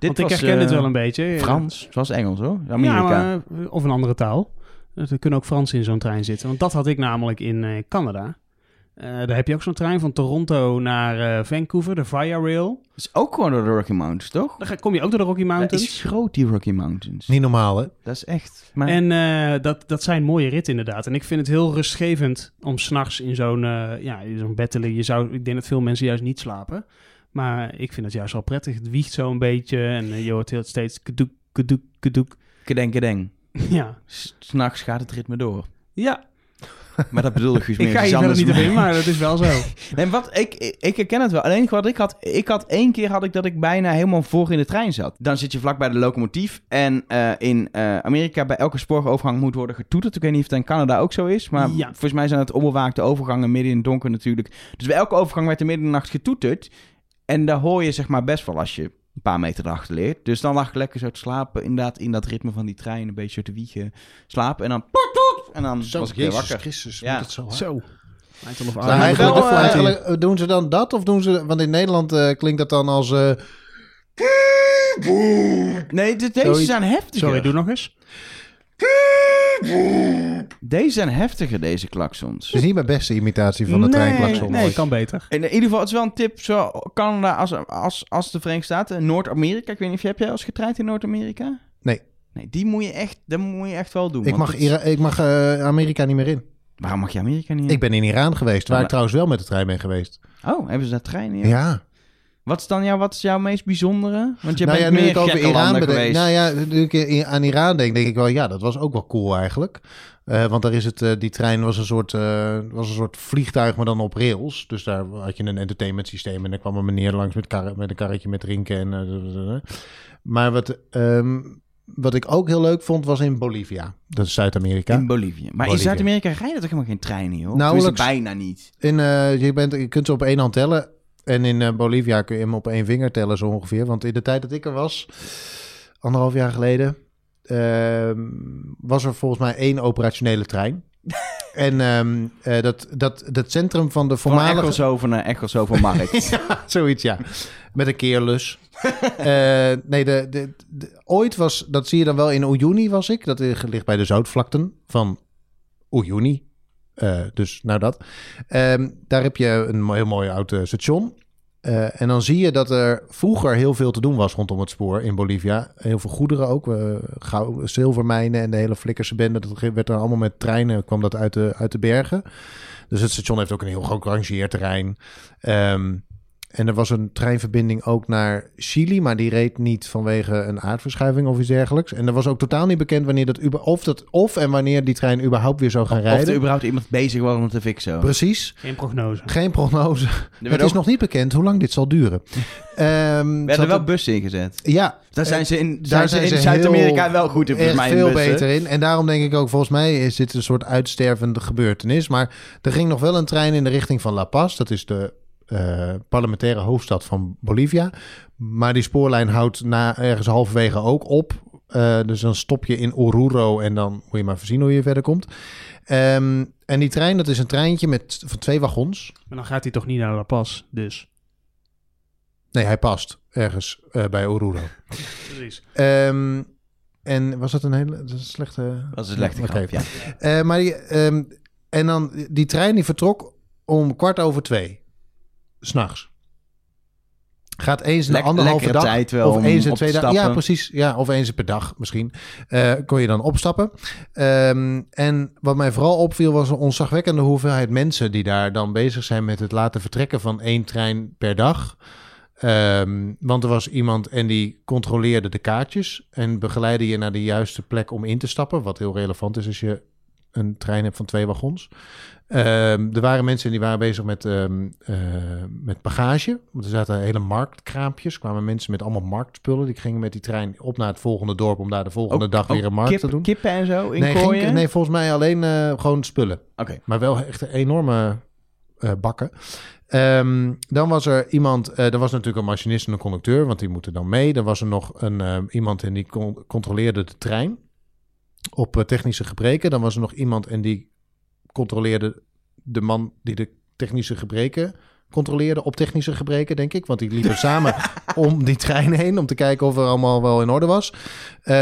Want ik
was,
herken
eh,
dit wel een beetje.
Frans, het was Engels hoor. Amerika.
Ja, maar, eh, of een andere taal. Dus Er kunnen ook Fransen in zo'n trein zitten. Want dat had ik namelijk in eh, Canada. Eh, daar heb je ook zo'n trein van Toronto naar eh, Vancouver, de Via Rail.
Dat is ook gewoon door de Rocky Mountains, toch?
Dan ga- kom je ook door de Rocky
Dat
Mountains.
is groot, die Rocky Mountains.
Niet normaal, hè?
Dat is echt. Maar...
En eh, dat, dat zijn mooie ritten inderdaad. En ik vind het heel rustgevend om s'nachts in zo'n eh, ja, in zo'n bed te liggen. Je zou, ik denk dat veel mensen juist niet slapen. Maar ik vind het juist wel prettig. Het wiegt zo een beetje en eh, je hoort heel steeds kedoek, kedoek, kedoek.
Kedeng, kedeng.
Ja,
S- S'nachts gaat het ritme door.
ja
Maar dat bedoelde Guus
ik
Meeuwis
ga
iets
hier verder
anders.
niet op in, maar dat is wel zo.
Nee, wat, ik, ik- ik herken het wel. Alleen wat ik had, ik had één keer had ik dat ik bijna helemaal voor in de trein zat. Dan zit je vlak bij de locomotief. En eh, in eh, Amerika bij elke spoorovergang moet worden getoeterd. Ik weet niet of het in Canada ook zo is. Maar
Ja.
volgens mij zijn het onbewaakte overgangen midden in het donker natuurlijk. Dus bij elke overgang werd er midden in de nacht getoeterd. En daar hoor je zeg maar best wel als je een paar meter erachter leert. Dus dan lag ik lekker zo te slapen. Inderdaad in dat ritme van die trein een beetje zo te wiegen. Slapen en dan... ploep, ploep, En dan was ik weer wakker.
Christus,
Ja.
moet het zo hard?
Zo. Eitel of
Maar
hij
Arnhem.
wel,
eigenlijk,
eh,
eigenlijk, eh, doen ze dan dat of doen ze... Want in Nederland eh, klinkt dat dan als... eh,
Nee, de- deze
Zoiets-
zijn heftiger.
Sorry, doe nog eens.
Deze zijn heftiger, deze klaksons. Dus
Het is niet mijn beste imitatie van de treinklakson.
Nee,
ooit.
kan beter.
In ieder geval, het is wel een tip. Zo Canada als, als, als de Verenigde Staten. Noord-Amerika. Ik weet niet of heb jij als getraind in Noord-Amerika?
Nee.
Nee, die moet je echt, dat moet je echt wel doen.
Ik
want
mag,
het-
Ira- ik mag eh, Amerika niet meer in.
Waarom mag je Amerika niet? in?
Ik ben in Iran geweest, waar
Maar-
ik trouwens wel met de trein ben geweest.
Oh, hebben ze daar treinen? in?
Ja.
Wat, is dan jouw, wat is jouw meest bijzondere? Want je
nou ja,
bent
nu
meer
ik over
gekke
Iran
landen
bedenk.
geweest.
Nou ja, nu ik i- aan Iran denk, denk ik wel, ja, dat was ook wel cool eigenlijk. Eh, want daar is het, eh, die trein was een, soort, eh, was een soort vliegtuig, maar dan op rails. Dus daar had je een entertainment systeem. En dan kwam een meneer langs met, karre- met een karretje met drinken. En, eh, Maar wat, ehm, wat ik ook heel leuk vond, was in Bolivia. Dat is Zuid-Amerika.
In Bolivia. Maar in
Bolivia.
Zuid-Amerika rijden toch helemaal geen treinen, joh?
Nauwelijks.
Tenminste, bijna niet.
In, eh, je, bent, je kunt ze op één hand tellen. En in eh, Bolivia kun je hem op één vinger tellen, zo ongeveer. Want in de tijd dat ik er was, anderhalf jaar geleden, ehm, was er volgens mij één operationele trein. en ehm, eh, dat, dat, dat centrum van de
Van
voormalige...
Echosoven naar Echosoven Markt.
Zoiets, ja. Met een keerlus. Eh, nee, de, de, de- ooit was, dat zie je dan wel in Uyuni was ik. Dat ligt bij de zoutvlakten van Uyuni. Eh, dus nou dat. Ehm, daar heb je een mo- heel mooi oud eh, station. Eh, en dan zie je dat er vroeger heel veel te doen was rondom het spoor in Bolivia. Heel veel goederen ook. eh, goud, zilvermijnen en de hele flikkerse bende. Dat ge- werd er allemaal met treinen, kwam dat uit de, uit de bergen. Dus het station heeft ook een heel groot rangeerterrein. Ehm, En er was een treinverbinding ook naar Chili, maar die reed niet vanwege een aardverschuiving of iets dergelijks. En er was ook totaal niet bekend wanneer dat, uber- of, dat of en wanneer die trein überhaupt weer zou gaan
Of er
rijden.
überhaupt iemand bezig was om het te fixen.
Precies,
Geen prognose.
geen prognose.
Er
Het
werden
is
ook-
nog niet bekend hoe lang dit zal duren. Ehm,
er werden
zat
wel
op-
bussen ingezet.
Ja,
Daar
eh,
zijn ze in,
daar
zijn
zijn
ze in
ze heel-
Zuid-Amerika wel goed in, volgens
echt
mij. in
veel
bussen.
beter in. En daarom denk ik ook, volgens mij is dit een soort uitstervende gebeurtenis. Maar er ging nog wel een trein in de richting van La Paz. Dat is de eh, parlementaire hoofdstad van Bolivia. Maar die spoorlijn houdt na ergens halverwege ook op. Eh, dus dan stop je in Oruro en dan moet je maar voorzien hoe je verder komt. Ehm, en die trein, dat is een treintje met, van twee wagons.
Maar dan gaat hij toch niet naar La Paz, dus.
Nee, hij past ergens eh, bij Oruro.
Precies.
Ehm, en was dat een hele dat is een slechte...
Dat is een slechte
Oké.
grap, ja.
Eh, maar die, ehm, en dan, die trein die vertrok om kwart over twee. S'nachts. Gaat eens in de
Lek-
anderhalve
lekkere
dag.
tijd wel
of
om
eens in
op
twee
te
dagen.
stappen.
Ja, precies. Ja, of eens per dag misschien. eh, kon je dan opstappen. Ehm, en wat mij vooral opviel was een ontzagwekkende hoeveelheid mensen... die daar dan bezig zijn met het laten vertrekken van één trein per dag. Ehm, want er was iemand en die controleerde de kaartjes... en begeleidde je naar de juiste plek om in te stappen. Wat heel relevant is als je een trein hebt van twee wagons. Ehm, er waren mensen die waren bezig met, ehm, eh, met bagage. Want er zaten hele marktkraampjes. kwamen mensen met allemaal marktspullen. Die gingen met die trein op naar het volgende dorp... om daar de volgende
Ook-
dag weer
ook
een markt
kip-
te doen.
Kippen en zo in
nee, geen-
kooien?
nee, Eh, volgens mij alleen eh, gewoon spullen.
Oké.
Maar wel echt enorme eh, bakken. Ehm, dan was er iemand, eh er was natuurlijk een machinist en een conducteur, want die moeten dan mee. Dan was er nog een, eh, iemand en die con- controleerde de trein op eh, technische gebreken. Dan was er nog iemand en die controleerde de man die de technische gebreken controleerde op technische gebreken, denk ik. Want die liepen samen om die trein heen om te kijken of er allemaal wel in orde was. Eh,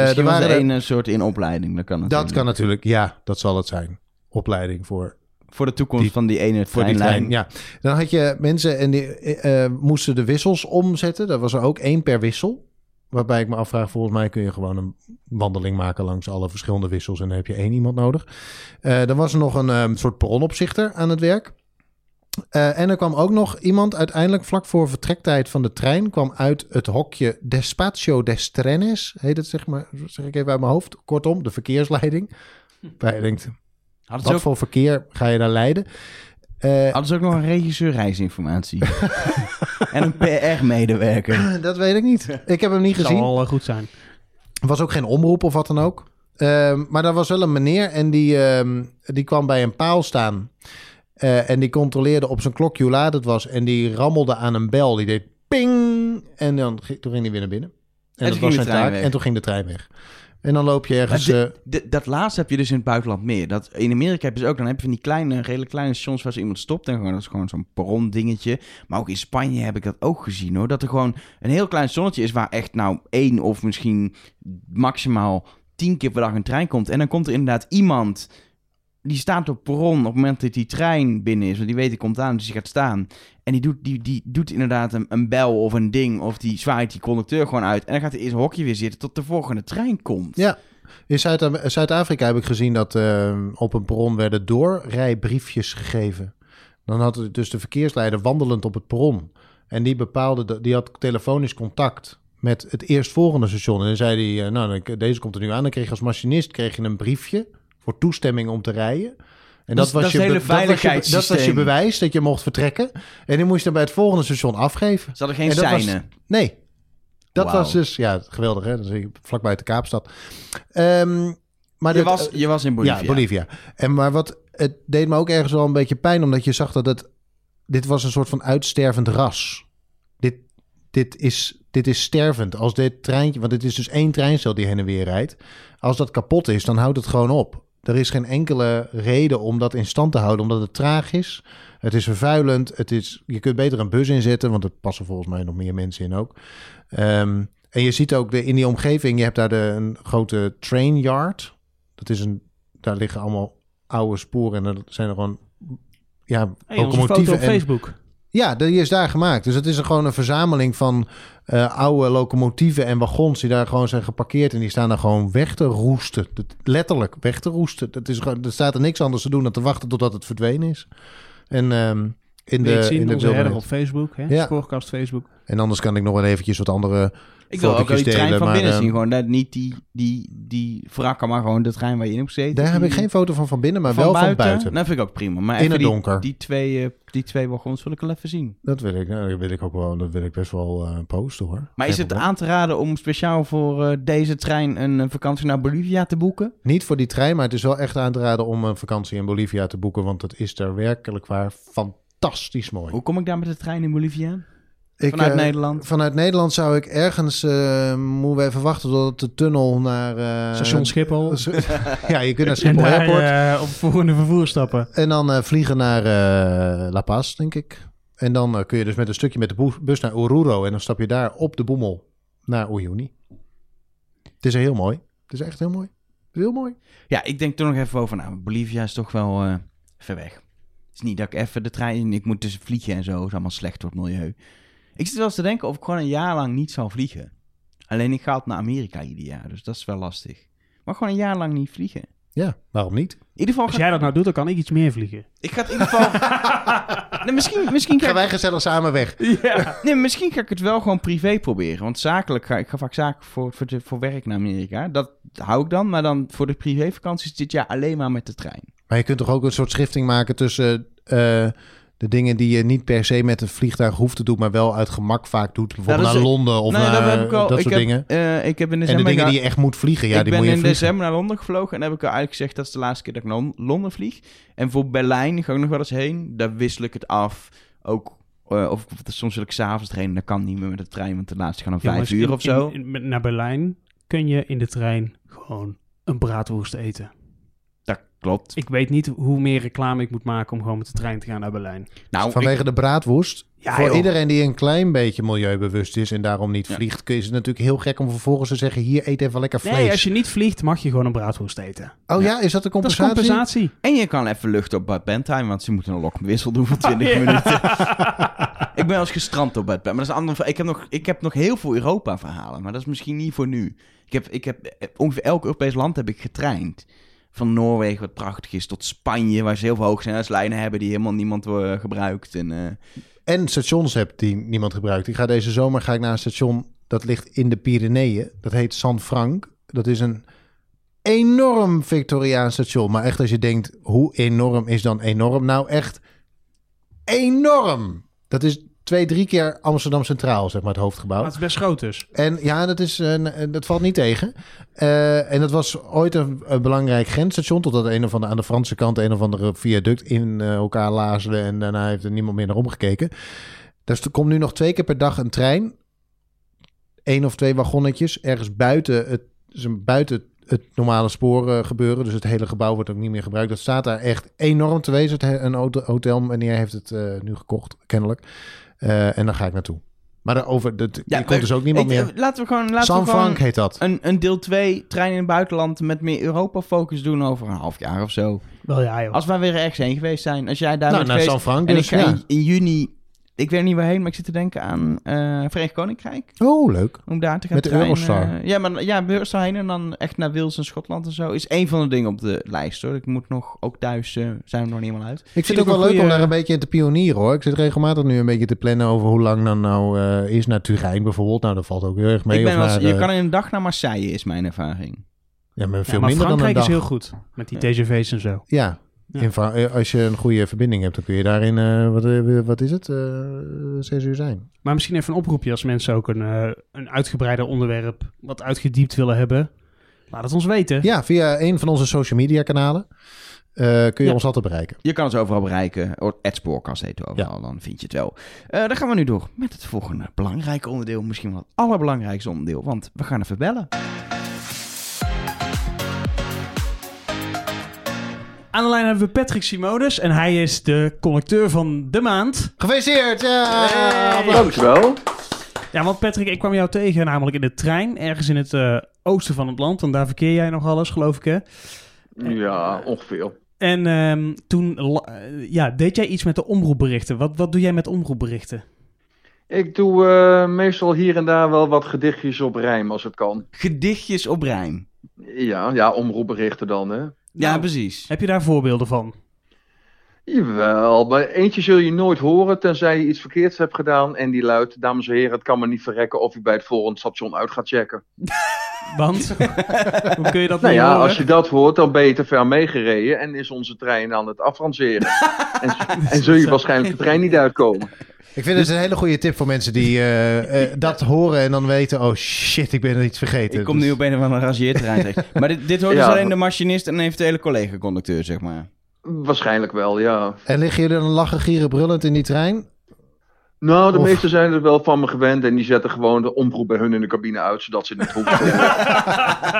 Misschien
er
was
waren
er
er-
een eh, soort in opleiding. Dat kan
dat
natuurlijk.
kan natuurlijk, ja, dat zal het zijn. Opleiding voor
Voor de toekomst
Die-
van die ene
voor die
treinlijn.
trein. Ja. Dan had je mensen en die eh, eh, moesten de wissels omzetten. Daar was er ook één per wissel. Waarbij ik me afvraag, volgens mij kun je gewoon een wandeling maken langs alle verschillende wissels. En dan heb je één iemand nodig. Eh, dan was er nog een eh, soort perronopzichter aan het werk. Eh, en er kwam ook nog iemand uiteindelijk vlak voor vertrektijd van de trein. kwam uit het hokje Despacio des Trenes. Heet het zeg maar, zeg ik even uit mijn hoofd. Kortom, de verkeersleiding. Waar je denkt,
Hm. Hadden, ze
wat
ook,
voor verkeer ga je daar leiden? Eh,
hadden ze ook nog een regisseur reisinformatie? en een PR-medewerker.
Ah, Dat weet ik niet. Ik heb hem niet
Zal
gezien.
al eh, goed zijn.
Er was ook geen omroep of wat dan ook. Ehm, maar daar was wel een meneer en die, ehm, die kwam bij een paal staan. Eh, en die controleerde op zijn klokje hoe laat het was. En die rammelde aan een bel. Die deed ping. En dan, ging- toen ging hij weer naar binnen. En,
toen
dat
ging de
was zijn
trein
taak.
weg.
En toen ging de trein weg. En dan loop je ergens...
Maar
eh,
De- dat laatste heb je dus in het buitenland meer. Dat, in Amerika heb je ze ook. Dan heb je van die kleine, redelijk kleine stations waar ze iemand stopt. En gewoon, dat is gewoon zo'n perron dingetje. Maar ook in Spanje heb ik dat ook gezien hoor. Dat er gewoon een heel klein stationnetje is waar echt nou één of misschien maximaal tien keer per dag een trein komt. En dan komt er inderdaad iemand... Die staat op het perron op het moment dat die trein binnen is. Want die weet, die komt aan, dus die gaat staan. En die doet, die, die doet inderdaad een, een bel of een ding. Of die zwaait die conducteur gewoon uit. En dan gaat hij in zijn hokje weer zitten tot de volgende trein komt.
Ja. In Zuid- Zuid-Afrika heb ik gezien dat eh, op een perron werden doorrijbriefjes gegeven. Dan had het dus de verkeersleider wandelend op het perron. En die bepaalde, dat- die had telefonisch contact met het eerstvolgende station. En dan zei hij, eh, nou, dan- deze komt er nu aan. Dan kreeg je als machinist kreeg je een briefje voor toestemming om te rijden. En
Dat is- dat is het
be-
hele
was je be- dat was je
veiligheidssysteem.
bewijs dat je mocht vertrekken. En die moest je dan bij het volgende station afgeven.
Ze hadden geen
En dat was-
seinen.
Nee. Dat
Wauw.
was dus, ja, geweldig hè. Dat is vlakbij de Kaapstad. Ehm,
je,
maar dit-
was, je was in Bolivia.
Ja, Bolivia. En maar wat, het deed me ook ergens wel een beetje pijn, omdat je zag dat het, dit was een soort van uitstervend ras. Dit, dit, is, dit is stervend. Als dit treintje, want dit is dus één treinstel die heen en weer rijdt. Als dat kapot is, dan houdt het gewoon op. Er is geen enkele reden om dat in stand te houden, omdat het traag is. Het is vervuilend. Het is, je kunt beter een bus inzetten, want er passen volgens mij nog meer mensen in ook. Ehm, en je ziet ook de, in die omgeving, je hebt daar de, een grote train yard. Dat is een, daar liggen allemaal oude sporen en er zijn er gewoon ja,
Hey, onze Ah, foto op
en-
Facebook.
ja, die is daar gemaakt. Dus het is gewoon een verzameling van eh, oude locomotieven en wagons die daar gewoon zijn geparkeerd. En die staan daar gewoon weg te roesten. Dat- letterlijk weg te roesten. Dat is, gewoon- er staat er niks anders te doen dan te wachten totdat het verdwenen is. En ehm, in
Wil je
de,
het zien?
in de
Onze herder
wildernis.
op Facebook, hè?
Ja. Eh,
Spoorkast Facebook.
En anders kan ik nog wel eventjes wat andere...
Ik wil ook wel die
Fotootjes
trein
delen,
van
maar,
binnen
eh,
zien. Gewoon dat, niet die, die, die wrakken, maar gewoon de trein waar je in hebt gezeten.
Daar heb
Die-
ik geen foto van van binnen, maar wel van buiten.
Dat vind ik ook prima. Maar
In
even
het
die-
donker.
Die, twee, eh, die twee wagons wil ik wel even zien.
Dat wil ik, nou, dat wil ik ook wel, dat wil ik best wel eh, posten hoor.
Maar
Geen
is het
probleem.
aan te raden om speciaal voor eh, deze trein een eh, vakantie naar Bolivia te boeken?
Niet voor die trein, maar het is wel echt aan te raden om een vakantie in Bolivia te boeken, want het is daar werkelijk waar fantastisch mooi.
Hoe kom ik daar met de trein in Bolivia?
Ik,
Vanuit
eh,
Nederland?
Vanuit Nederland zou ik ergens, eh moeten we even wachten tot de tunnel naar... eh,
Station Schiphol.
ja, je kunt naar
en
Schiphol
daar
Airport.
eh, op volgende vervoer stappen.
En dan eh, vliegen naar eh, La Paz, denk ik. En dan eh, kun je dus met een stukje met de boe- bus naar Oruro. En dan stap je daar op de boemel naar Uyuni. Het is heel mooi. Het is echt heel mooi. Het is heel mooi.
Ja, ik denk toch nog even over. Nou, Bolivia is toch wel eh, ver weg. Het is niet dat ik even de trein... Ik moet dus vliegen en zo. Het is allemaal slecht voor het milieu. Ik zit wel eens te denken of ik gewoon een jaar lang niet zal vliegen. Alleen ik ga altijd naar Amerika ieder jaar. Dus dat is wel lastig. Maar gewoon een jaar lang niet vliegen. In
Ja, waarom niet?
ieder geval...
Als
ga-
jij dat nou doet, dan kan ik iets meer vliegen.
Ik ga het in ieder geval... nee, misschien, misschien ga
Gaan
ik
wij gezellig samen weg.
Ja.
Nee, misschien ga ik het wel gewoon privé proberen. Want zakelijk ga ik ga vaak zakelijk voor, voor, de- voor werk naar Amerika. Dat hou ik dan. Maar dan voor de privévakanties dit jaar alleen maar met de trein.
Maar je kunt toch ook een soort schifting maken tussen eh, de dingen die je niet per se met een vliegtuig hoeft te doen, maar wel uit gemak vaak doet. Bijvoorbeeld
Nou, dat is-
naar Londen of
Nee,
naar dat,
ik
soort
heb,
dingen.
eh, ik heb in
En
december...
de dingen
ga-
die je echt moet vliegen, ja,
ik
die
ben
moet
in
je vliegen.
december naar Londen gevlogen. En heb ik al eigenlijk gezegd dat is de laatste keer dat ik naar Lon- Londen vlieg. En voor Berlijn ga ik nog wel eens heen. Daar wissel ik het af. Ook... eh, of of- soms wil ik s'avonds trainen, dat kan niet meer met de trein, want de laatste gaan om vijf
Jongens,
uur
in-
of zo.
in- in- met- naar Berlijn kun je in de trein gewoon een braadworst eten.
dat klopt.
Ik weet niet hoe meer reclame ik moet maken om gewoon met de trein te gaan naar Berlijn.
Nou, ik-
Vanwege de braadworst.
Ja,
voor
joh.
iedereen die een klein beetje milieubewust is en daarom niet
Ja.
vliegt, kun je- is het natuurlijk heel gek om vervolgens te zeggen: hier eet even lekker vlees.
Nee, als je niet vliegt, mag je gewoon een braadworst eten.
Oh ja, is dat de
Dat is
compensatie? Oh.
compensatie.
En je kan even luchten op Bad Bentime, want ze moeten een lokkenwissel doen voor 20
Ja.
minuten. ik ben wel eens gestrand op Bad Bentime, maar dat is een ander ver- ik heb, nog, ik heb nog heel veel Europa-verhalen, maar dat is misschien niet voor nu. Ik heb, ik heb eh, ongeveer elk Europees land heb ik getraind. Van Noorwegen, wat prachtig is, tot Spanje, waar ze heel veel hoogsnelheidslijnen hebben die helemaal niemand eh, gebruikt. En, eh,
En stations hebt die niemand gebruikt. Ik ga deze zomer ga ik naar een station dat ligt in de Pyreneeën. Dat heet San Frank. Dat is een enorm Victoriaans station. Maar echt als je denkt, hoe enorm is dan enorm? Nou echt enorm. Dat is twee, drie keer Amsterdam Centraal, zeg maar, het hoofdgebouw.
Maar het is best groot dus.
En ja, dat, is, een- een- dat valt niet tegen. Eh, en dat was ooit een, een belangrijk grensstation. Totdat een of andere, aan de Franse kant een of andere viaduct in eh, elkaar lazerde. En daarna heeft er niemand meer naar omgekeken. Dus er komt nu nog twee keer per dag een trein. Eén of twee wagonnetjes. Ergens buiten het, dus een- buiten het normale spoor eh, gebeuren. Dus het hele gebouw wordt ook niet meer gebruikt. Dat staat daar echt enorm te wezen. Het he- Een hotel, hotel meneer heeft het eh, nu gekocht, kennelijk. Eh, en dan ga ik naartoe. Maar daarover, dat,
Ja,
je komt dus ook niemand
ik-
meer.
eh, Laten we gewoon, laten
San
we gewoon
Frank heet dat.
een, een deel 2 trein in het buitenland met meer Europa-focus doen over een half jaar of zo.
Wel ja, joh.
Als wij weer ergens heen geweest zijn, als jij daar
Nou,
bent
naar
geweest,
San Frank
En
dus,
ik ga
ja.
in, in juni, ik weet niet waarheen, maar ik zit te denken aan eh Verenigd Koninkrijk.
Oh, leuk.
Om daar te gaan
Met de
treinen.
Eurostar.
ja, maar ja, Eurostar heen en dan echt naar Wales en Schotland en zo. Is één van de dingen op de lijst hoor. Ik moet nog, ook thuis eh, zijn we nog niet helemaal uit.
Ik
Zie
vind
je
het ook
ook
wel
een
leuk om
goeie-
daar een beetje in te pionieren, hoor. Ik zit regelmatig nu een beetje te plannen over hoe lang dan nou eh, is naar Turijn bijvoorbeeld. Nou, dat valt ook heel erg mee.
ik ben
of
wel eens-
naar,
je
eh,
kan in een dag naar Marseille, is mijn ervaring.
ja, maar
Ja,
veel minder
maar
dan een
Frankrijk
dag.
is heel goed. Met die TGV's en zo.
Ja.
Ja.
In Fra- eh, als je een goede verbinding hebt, dan kun je daarin, eh, wat, eh, wat is het, eh, zes uur zijn.
Maar misschien even een oproepje als mensen ook een, eh, een uitgebreider onderwerp wat uitgediept willen hebben. Laat het ons weten.
Ja, via een van onze social media kanalen eh, kun je
Ja.
ons altijd bereiken.
Je kan het overal bereiken. Oh, Het spoorkast heet het overal, dan vind je het wel. Eh dan gaan we nu door met het volgende belangrijke onderdeel. Misschien wel het allerbelangrijkste onderdeel, want we gaan even bellen.
Aan de lijn hebben we Patrick Simonis en hij is de connecteur van de maand.
Gefeliciteerd! Ja!
Hey!
Ah,
Applaus.
Ja, want Patrick, ik kwam jou tegen namelijk in de trein ergens in het eh, oosten van het land. Want daar verkeer jij nog alles, geloof ik hè?
Ja, ongeveer.
En ehm, toen la- eh, ja, deed jij iets met de omroepberichten. Wat, wat doe jij met omroepberichten?
Ik doe eh, meestal hier en daar wel wat gedichtjes op rijm als het kan.
Gedichtjes op rijm.
Ja, ja, omroepberichten dan, hè.
Ja,
Nou.
precies.
Heb je daar voorbeelden van?
Jawel, maar eentje zul je nooit horen tenzij je iets verkeerds hebt gedaan. En die luidt, dames en heren, het kan me niet verrekken of u bij het volgende station uit gaat checken.
Want? Hoe kun je dat
Nou
niet
ja,
horen?
als je dat hoort, dan ben je te ver meegereden en is onze trein aan het afranceren. en, en zul je waarschijnlijk de trein niet uitkomen.
Ik vind het een hele goede tip voor mensen die eh, eh, dat horen en dan weten... oh shit, ik ben er iets vergeten. Dus-
Ik kom nu op een of andere rangeerterrein terecht. Maar dit, dit hoort dus
Ja.
alleen de machinist en een eventuele collega-conducteur, zeg maar.
Waarschijnlijk wel, ja.
En liggen jullie dan lachen, gieren, brullend in die trein?
Nou, de
Of-
meesten zijn er wel van me gewend en die zetten gewoon de omroep bij hun in de cabine uit, zodat ze niet hoeven te horen.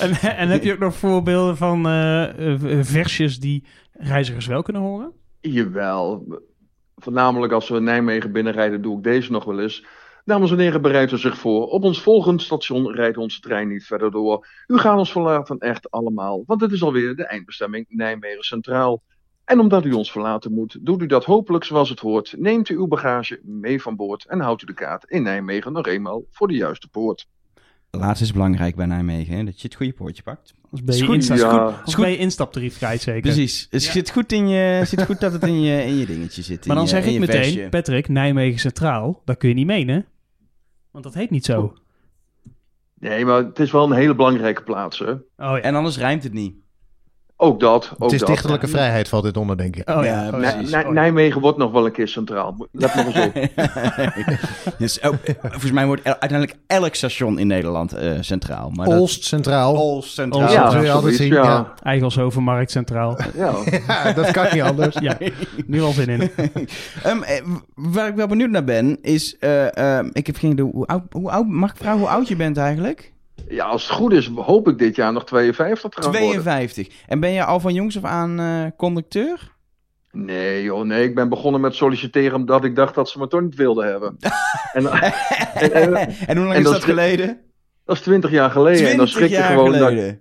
en, en heb je ook nog voorbeelden van eh, eh, versjes die reizigers wel kunnen horen?
Jawel. Voornamelijk als we Nijmegen binnenrijden, doe ik deze nog wel eens. Dames en heren, bereidt u zich voor. Op ons volgend station rijdt onze trein niet verder door. U gaat ons verlaten, echt allemaal. Want het is alweer de eindbestemming Nijmegen Centraal. En omdat u ons verlaten moet, doet u dat hopelijk zoals het hoort. Neemt u uw bagage mee van boord en houdt u de kaart in Nijmegen nog eenmaal voor de juiste poort.
Laatst is belangrijk bij Nijmegen, hè? dat je het goede poortje pakt.
Als bij
Is
je,
goed,
insta-
ja.
is goed- als
Is goed.
bij je instaptarief kwijt zeker.
Precies. Het
Ja.
zit, goed in je, zit goed dat het in je, in je dingetje zit.
Maar
in
dan
je-
zeg
eh, in
ik
je
meteen,
vestje.
Patrick, Nijmegen Centraal, dat kun je niet menen. Want dat heet niet zo. Oh
Nee, maar het is wel een hele belangrijke plaats, hè?
Oh ja.
En anders rijmt het niet.
Ook dat, ook
het is
dat.
dichterlijke vrijheid valt dit onder, denk ik.
oh
ja,
ja,
Nij-
precies.
Nij-
Oh ja.
Nijmegen wordt nog wel een keer centraal. Let nog
Oh.
eens op.
dus, oh, eh, volgens mij wordt el- uiteindelijk elk station in Nederland eh, centraal. Maar dat- Oh.
Olst Centraal.
Olst centraal.
Ja, dat wil
zoiets,
je altijd zien, ja.
Eigelshovenmarkt Centraal.
ja.
Ja, dat kan niet anders.
ja, nu al zin in.
Ehm, eh, w- waar ik wel benieuwd naar ben, is... eh, ehm, ik heb geen idee, hoe oud, hoe oud... Mag ik vragen hoe oud je bent eigenlijk?
Ja, als het goed is, hoop ik dit jaar nog 52 te gaan worden.
52. En ben je al van jongs af aan eh, conducteur?
Nee joh, nee. Ik ben begonnen met solliciteren omdat ik dacht dat ze me toch niet wilden hebben. en, en- en-
en hoe lang
en
is
dat
dat
schrik-
geleden?
dat is 20 jaar geleden. en dan
20
schrik, je
jaar
gewoon dat,
geleden.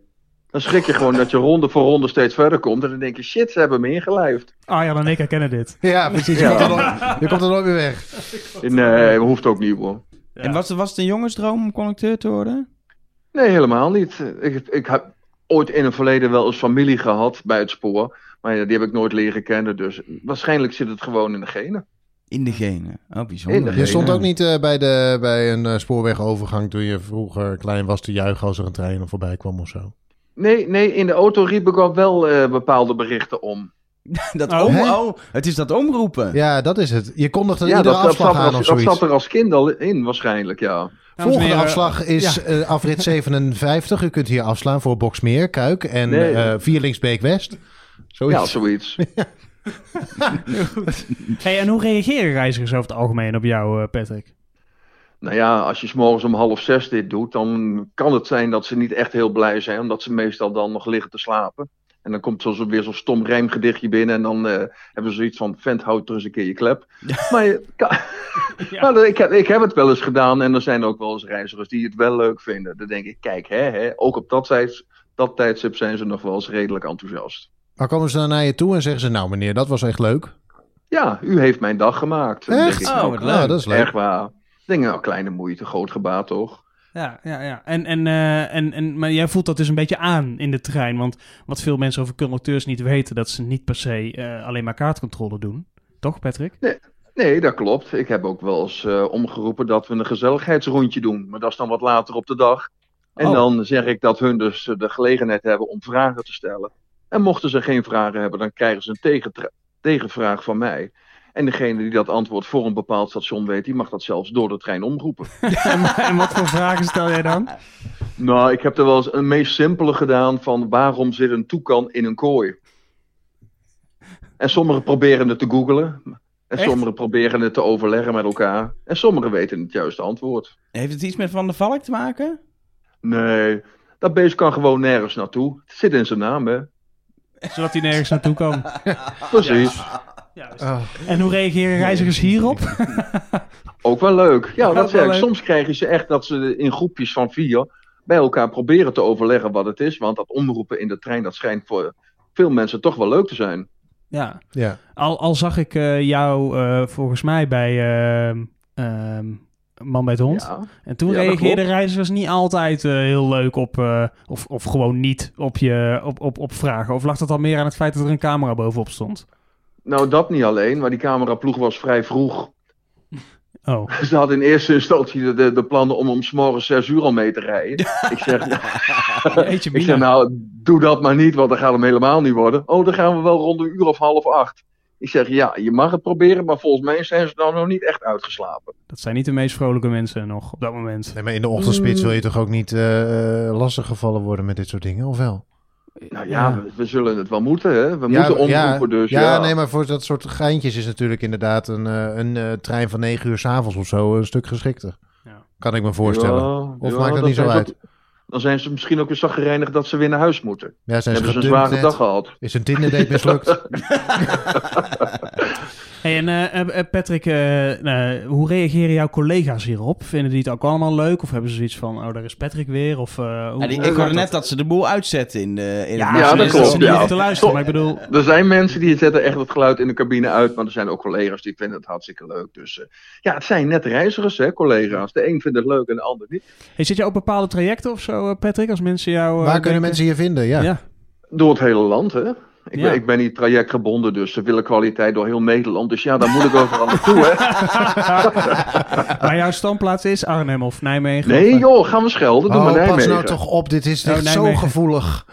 dan schrik je gewoon dat je ronde voor ronde steeds verder komt. En dan denk je, shit, ze hebben me ingelijfd.
Arjan en ik herkennen dit.
Ja, precies. Je,
Ja.
komt er nooit, je komt er nooit meer weg.
Nee, eh, hoeft ook niet hoor.
Ja.
En was, het- was het een jongensdroom om conducteur te worden?
Nee, helemaal niet. Ik, ik heb ooit in het verleden wel eens familie gehad bij het spoor. Maar ja, die heb ik nooit leren kennen. Dus waarschijnlijk zit het gewoon in de genen.
In de genen. Oh,
In de
bijzonder.
genen.
Je stond
Ja.
ook niet eh, bij, de, bij een eh, spoorwegovergang toen je vroeger klein was te juichen als er een trein voorbij kwam of zo.
Nee, nee, in de auto riep ik al wel eh, bepaalde berichten om.
Dat
Oh,
om,
hè?
oh, het is dat omroepen.
Ja, dat is het. Je kondigde
Ja,
iedere
dat, dat,
afslag
zat, er
aan of
als, dat
zoiets.
zat er als kind al in, waarschijnlijk, ja.
Dames en
Volgende
heren,
afslag is eh, afrit 57. U kunt hier afslaan voor Boksmeer, Kuik en eh
Nee.
Vierlingsbeek West.
Ja,
Zoiets.
zoiets.
Hey, en hoe reageren reizigers over het algemeen op jou, eh, Patrick?
nou ja, als je s'morgens om half zes dit doet, dan kan het zijn dat ze niet echt heel blij zijn, omdat ze meestal dan nog liggen te slapen. En dan komt zo zo- weer zo'n stom rijmgedichtje binnen en dan eh, hebben ze zoiets van, vent, houd er eens een keer je klep. Maar je kan-
Ja.
Nou, ik, heb, ik heb het wel eens gedaan en er zijn ook wel eens reizigers die het wel leuk vinden. Dan denk ik, kijk, hè, hè, ook op dat, tijds, dat tijdstip zijn ze nog wel eens redelijk enthousiast.
Maar komen ze dan naar je toe en zeggen ze... Nou meneer, dat was echt leuk.
Ja, u heeft mijn dag gemaakt. Dan
Echt?
Denk ik,
Oh,
nou,
wat
Nou, dat is leuk.
Echt waar. Ik denk, nou, kleine moeite, groot gebaat toch?
Ja, ja, ja. En, en, eh, en, en, maar jij voelt dat dus een beetje aan in de trein. Want wat veel mensen over conducteurs niet weten, dat ze niet per se eh, alleen maar kaartcontrole doen. Toch, Patrick?
Nee, dat klopt. Ik heb ook wel eens eh, omgeroepen dat we een gezelligheidsrondje doen. Maar dat is dan wat later op de dag. En
Oh.
dan zeg ik dat hun dus eh, de gelegenheid hebben om vragen te stellen. En mochten ze geen vragen hebben, dan krijgen ze een tegentra- tegenvraag van mij. En degene die dat antwoord voor een bepaald station weet, die mag dat zelfs door de trein omroepen.
en, en wat voor vragen stel jij dan?
nou, ik heb er wel eens een meest simpele gedaan van waarom zit een toekan in een kooi? En sommigen proberen het te googlen. En
Echt?
sommigen proberen het te overleggen met elkaar. En sommigen weten het juiste antwoord.
Heeft het iets met Van der Valk te maken?
Nee, dat beest kan gewoon nergens naartoe. Het zit in zijn naam, hè?
Ah, Zodat hij nergens naartoe kan.
Precies.
Oh.
En hoe reageren reizigers hierop?
Ook wel leuk. Ja,
Ook
dat
wel
zeg ik.
leuk.
Soms krijg je ze echt dat ze in groepjes van vier bij elkaar proberen te overleggen wat het is. Want dat omroepen in de trein, dat schijnt voor veel mensen toch wel leuk te zijn.
Ja.
Ja.
Al, al zag ik eh, jou eh, volgens mij bij ehm, ehm, Man bij het Hond.
Ja.
En toen
Ja, dat
reageerden
klopt.
reizigers niet altijd eh, heel leuk op, eh, of, of gewoon niet op, je, op, op, op vragen. Of lag dat al meer aan het feit dat er een camera bovenop stond?
Nou, dat niet alleen, maar die cameraploeg was vrij vroeg.
Oh,
Ze hadden in eerste instantie de, de, de plannen om om 's morgens 6 uur al mee te rijden. Ik zeg,
jeetje
ik
mina.
zeg, nou, doe dat maar niet, want dan gaat hem helemaal niet worden. Oh, dan gaan we wel rond een uur of half acht. Ik zeg, ja, je mag het proberen, maar volgens mij zijn ze nou nog niet echt uitgeslapen.
Dat zijn niet de meest vrolijke mensen nog op dat moment.
Nee, maar in de ochtendspits wil je toch ook niet eh lastig gevallen worden met dit soort dingen, of wel?
Nou ja, We, we zullen het wel moeten, hè. We
Ja,
moeten omroepen,
ja,
dus ja.
ja, nee, maar voor dat soort geintjes is natuurlijk inderdaad een, eh, een eh, trein van 9 uur s'avonds of zo een stuk geschikter.
Ja.
Kan ik me voorstellen. Ja,
Ja,
Of
ja,
maakt dat
dan
niet zo
zijn ze-
uit?
Dan zijn ze misschien ook weer zagrijnig dat ze weer naar huis moeten.
zijn ze
Hebben ze een
gedumpt
zware
net?
dag gehad.
Is een Tinder-date mislukt?
Hey, en eh, eh, eh, Patrick, eh, eh, hoe reageren jouw collega's hierop? Vinden die het ook allemaal leuk? Of hebben ze zoiets van, oh, daar is Patrick weer? Of, eh, hoe,
Ja, die-
hoe
Oh, ik hoorde
gaat
net dat ze de boel uitzetten in de... In
Ja,
het
Ja,
dat
dat
klopt. Dat ze
klopt,
niet
ja.
hoeven te luisteren, maar ik bedoel...
Er zijn mensen die zetten echt het geluid in de cabine uit, maar er zijn ook collega's die vinden het hartstikke leuk. Dus eh, ja, het zijn net reizigers, hè, collega's. De een vindt het leuk en de ander niet.
Hey, zit je op bepaalde trajecten of zo, eh, Patrick? Als mensen jou... eh,
Waar kunnen
denken-
mensen je vinden? Ja.
Ja.
Door het hele land, hè? Ik,
Ja.
ben, ik ben niet trajectgebonden, dus ze willen kwaliteit door heel Nederland. Dus ja, daar moet ik overal naartoe, hè?
Maar jouw standplaats is Arnhem of Nijmegen?
Nee,
of, eh,
joh, gaan we schelden. Doe maar
Oh, pas
Nijmegen.
nou toch op, dit is
Oh,
echt zo
Nijmegen.
gevoelig.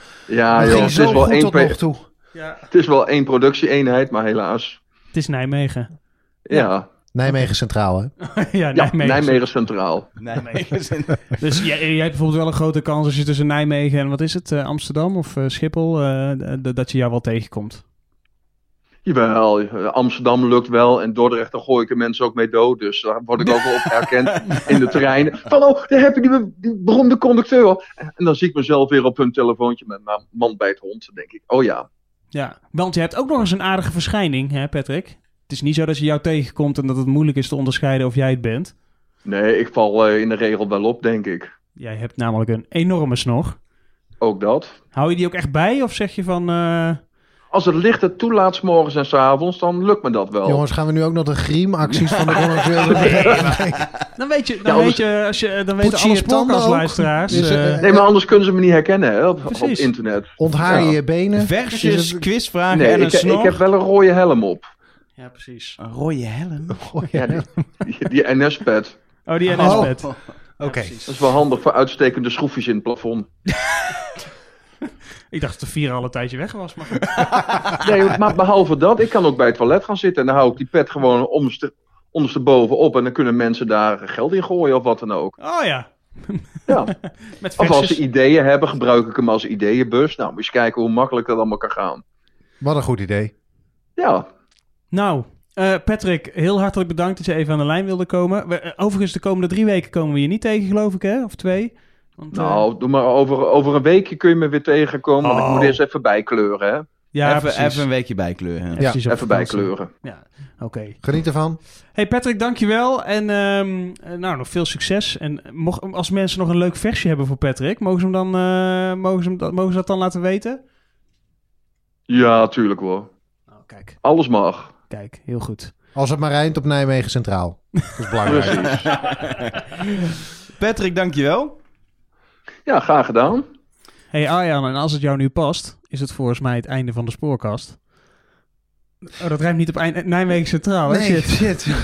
het
Ja, Ah, joh,
ging
het is,
zo
wel
goed
één,
tot nog
pe-
toe.
Ja.
het is wel één productieeenheid, maar helaas.
Het is Nijmegen.
Ja,
Nijmegen Centraal, hè?
ja,
ja
Nijmegen.
Nijmegen. Centraal.
Nijmegen.
Dus jij, jij hebt bijvoorbeeld wel een grote kans als je tussen Nijmegen en wat is het, eh, Amsterdam of eh, Schiphol, eh, d- d- dat je jou wel tegenkomt.
Jawel, eh, Amsterdam lukt wel en Dordrecht, daar gooi ik de mensen ook mee dood. Dus daar word ik ook wel op herkend in de trein. Van, oh, daar heb je die, be- die beroemde conducteur. En dan zie ik mezelf weer op hun telefoontje met mijn man bij het hond. Dan denk ik, oh ja,
Ja, want je hebt ook nog eens een aardige verschijning, hè Patrick? Het is niet zo dat je jou tegenkomt en dat het moeilijk is te onderscheiden of jij het bent.
nee, ik val eh, in de regel wel op, denk ik.
Jij hebt namelijk een enorme snor.
Ook dat.
Hou je die ook echt bij of zeg je van... eh,
Als het licht het toelaat, 's morgens en 's avonds, dan lukt me dat wel.
Jongens, gaan we nu ook nog de griemacties van de conducteur?
Dan weet je, dan
Ja,
weet
anders-
je, als je, dan
oh, Poets
weten
je
alle
je tanden ook?
podcastluisteraars.
Dus,
eh,
eh,
Nee, maar anders kunnen ze me niet herkennen hè, op, op
Precies.
internet.
Onthaar je
Ja.
je benen? Is
Versjes,
eh, dus het-
quizvragen
Nee,
en een
ik,
snor.
ik heb wel een rode helm op.
ja, precies.
Een rode helm.
Goh, Oh, ja.
Ja, die, die- die NS-pad.
Oh, die
Oh.
NS-bed.
Oké.
Dat is wel handig voor uitstekende schroefjes in het plafond.
Ik dacht dat de vier al een tijdje weg was. Maar goed.
Nee, maar behalve dat, ik kan ook bij het toilet gaan zitten en dan hou ik die pet gewoon onderste, onderstebovenop en dan kunnen mensen daar geld in gooien of wat dan ook.
Oh ja,
Ja.
met
Of als ze
versjes.
ideeën hebben, gebruik ik hem als ideeënbus. Nou, moet je eens kijken hoe makkelijk dat allemaal kan gaan.
Wat een goed idee.
Ja,
Nou, eh, Patrick, heel hartelijk bedankt dat je even aan de lijn wilde komen. We, eh, overigens, de komende drie weken komen we je niet tegen, geloof ik, hè? Of twee? Want, eh,
nou, doe maar over, over een weekje kun je me weer tegenkomen, want ik
Oh.
moet eerst even bijkleuren, hè.
ja,
even,
precies.
even een weekje bijkleuren.
Ja, precies, op
Even
vakantie.
bijkleuren.
Ja, oké.
Geniet ervan.
Hey Patrick, dankjewel. En ehm, eh, nou, nog veel succes. En mocht, als mensen nog een leuk versje hebben voor Patrick, mogen ze, hem dan, eh, mogen, ze hem, dat- mogen ze dat dan laten weten?
Ja, tuurlijk hoor.
Nou, kijk.
Alles mag.
Kijk, heel goed.
Als het maar rijdt op Nijmegen Centraal. Dat is belangrijk.
Precies.
Patrick, dankjewel.
Ja, graag gedaan.
Hey Arjan, en als het jou nu past, is het volgens mij het einde van de spoorkast. Oh, dat rijmt niet op eind- Nijmegen Centraal, hè?
Nee,
Shit.
Oh,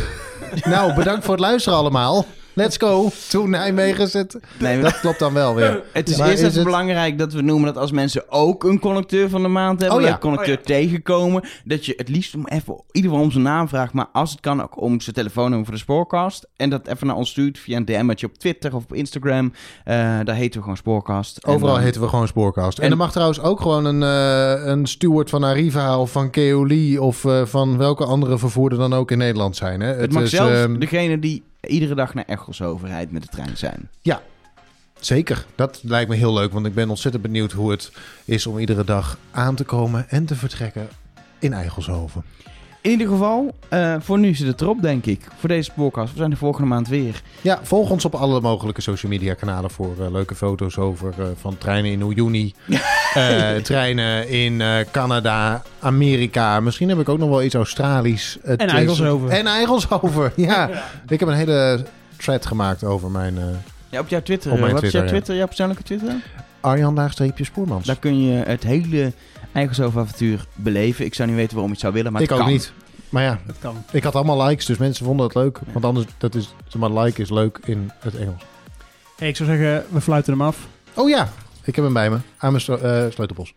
shit. nou, bedankt voor het luisteren allemaal. Let's go. Toen Nijmegen zit.
Nee,
Dat klopt dan wel weer.
Het is
Maar
eerst
is
even
het-
belangrijk dat we noemen dat als mensen ook een connecteur van de maand hebben,
Oh
een
ja.
leuk connecteur tegenkomen, dat je het liefst om even in ieder geval om zijn naam vraagt, maar als het kan ook om zijn telefoonnummer voor de spoorkast en dat even naar ons stuurt via een DM'tje op Twitter of op Instagram. Eh, daar heten we gewoon spoorkast. En
Overal
dan-
heten we gewoon Spoorcast. En,
En-
er mag trouwens ook gewoon een, eh, een steward van Arriva of van Keoli of eh, van welke andere vervoerder dan ook in Nederland zijn. Hè?
Het, mag
is,
zelfs
ehm,
degene die iedere dag naar Echelshoven rijdt met de trein zijn.
Zeker, dat lijkt me heel leuk, want ik ben ontzettend benieuwd hoe het is om iedere dag aan te komen en te vertrekken in Eigelshoven.
In ieder geval, eh, voor nu zit het erop, denk ik. Voor deze podcast. We zijn de volgende maand weer.
Ja, volg ons op alle mogelijke social media kanalen voor eh, leuke foto's over eh, van treinen in Uyuni, eh, treinen in eh, Canada, Amerika. Misschien heb ik ook nog wel iets Australisch. Het
En
is-
Eigelshoven.
En Eigelshoven, ja. Ik heb een hele thread gemaakt over mijn... eh,
Ja, op jouw Twitter.
Op mijn
Wat is jouw
Twitter, ja.
Twitter? Jouw persoonlijke Twitter?
Arjan-spoormans.
Daar kun je het hele Eigenshoofd-avontuur beleven. Ik zou niet weten waarom je het zou willen, maar
Ik
het
ook
kan.
niet. Maar ja,
Dat kan.
ik had allemaal likes, dus mensen vonden het leuk. Want anders, dat is, zeg maar like is leuk in het Engels.
Hey, ik zou zeggen, we fluiten hem af.
Oh ja, ik heb hem bij me. Aan mijn sl- eh, sleutelbos.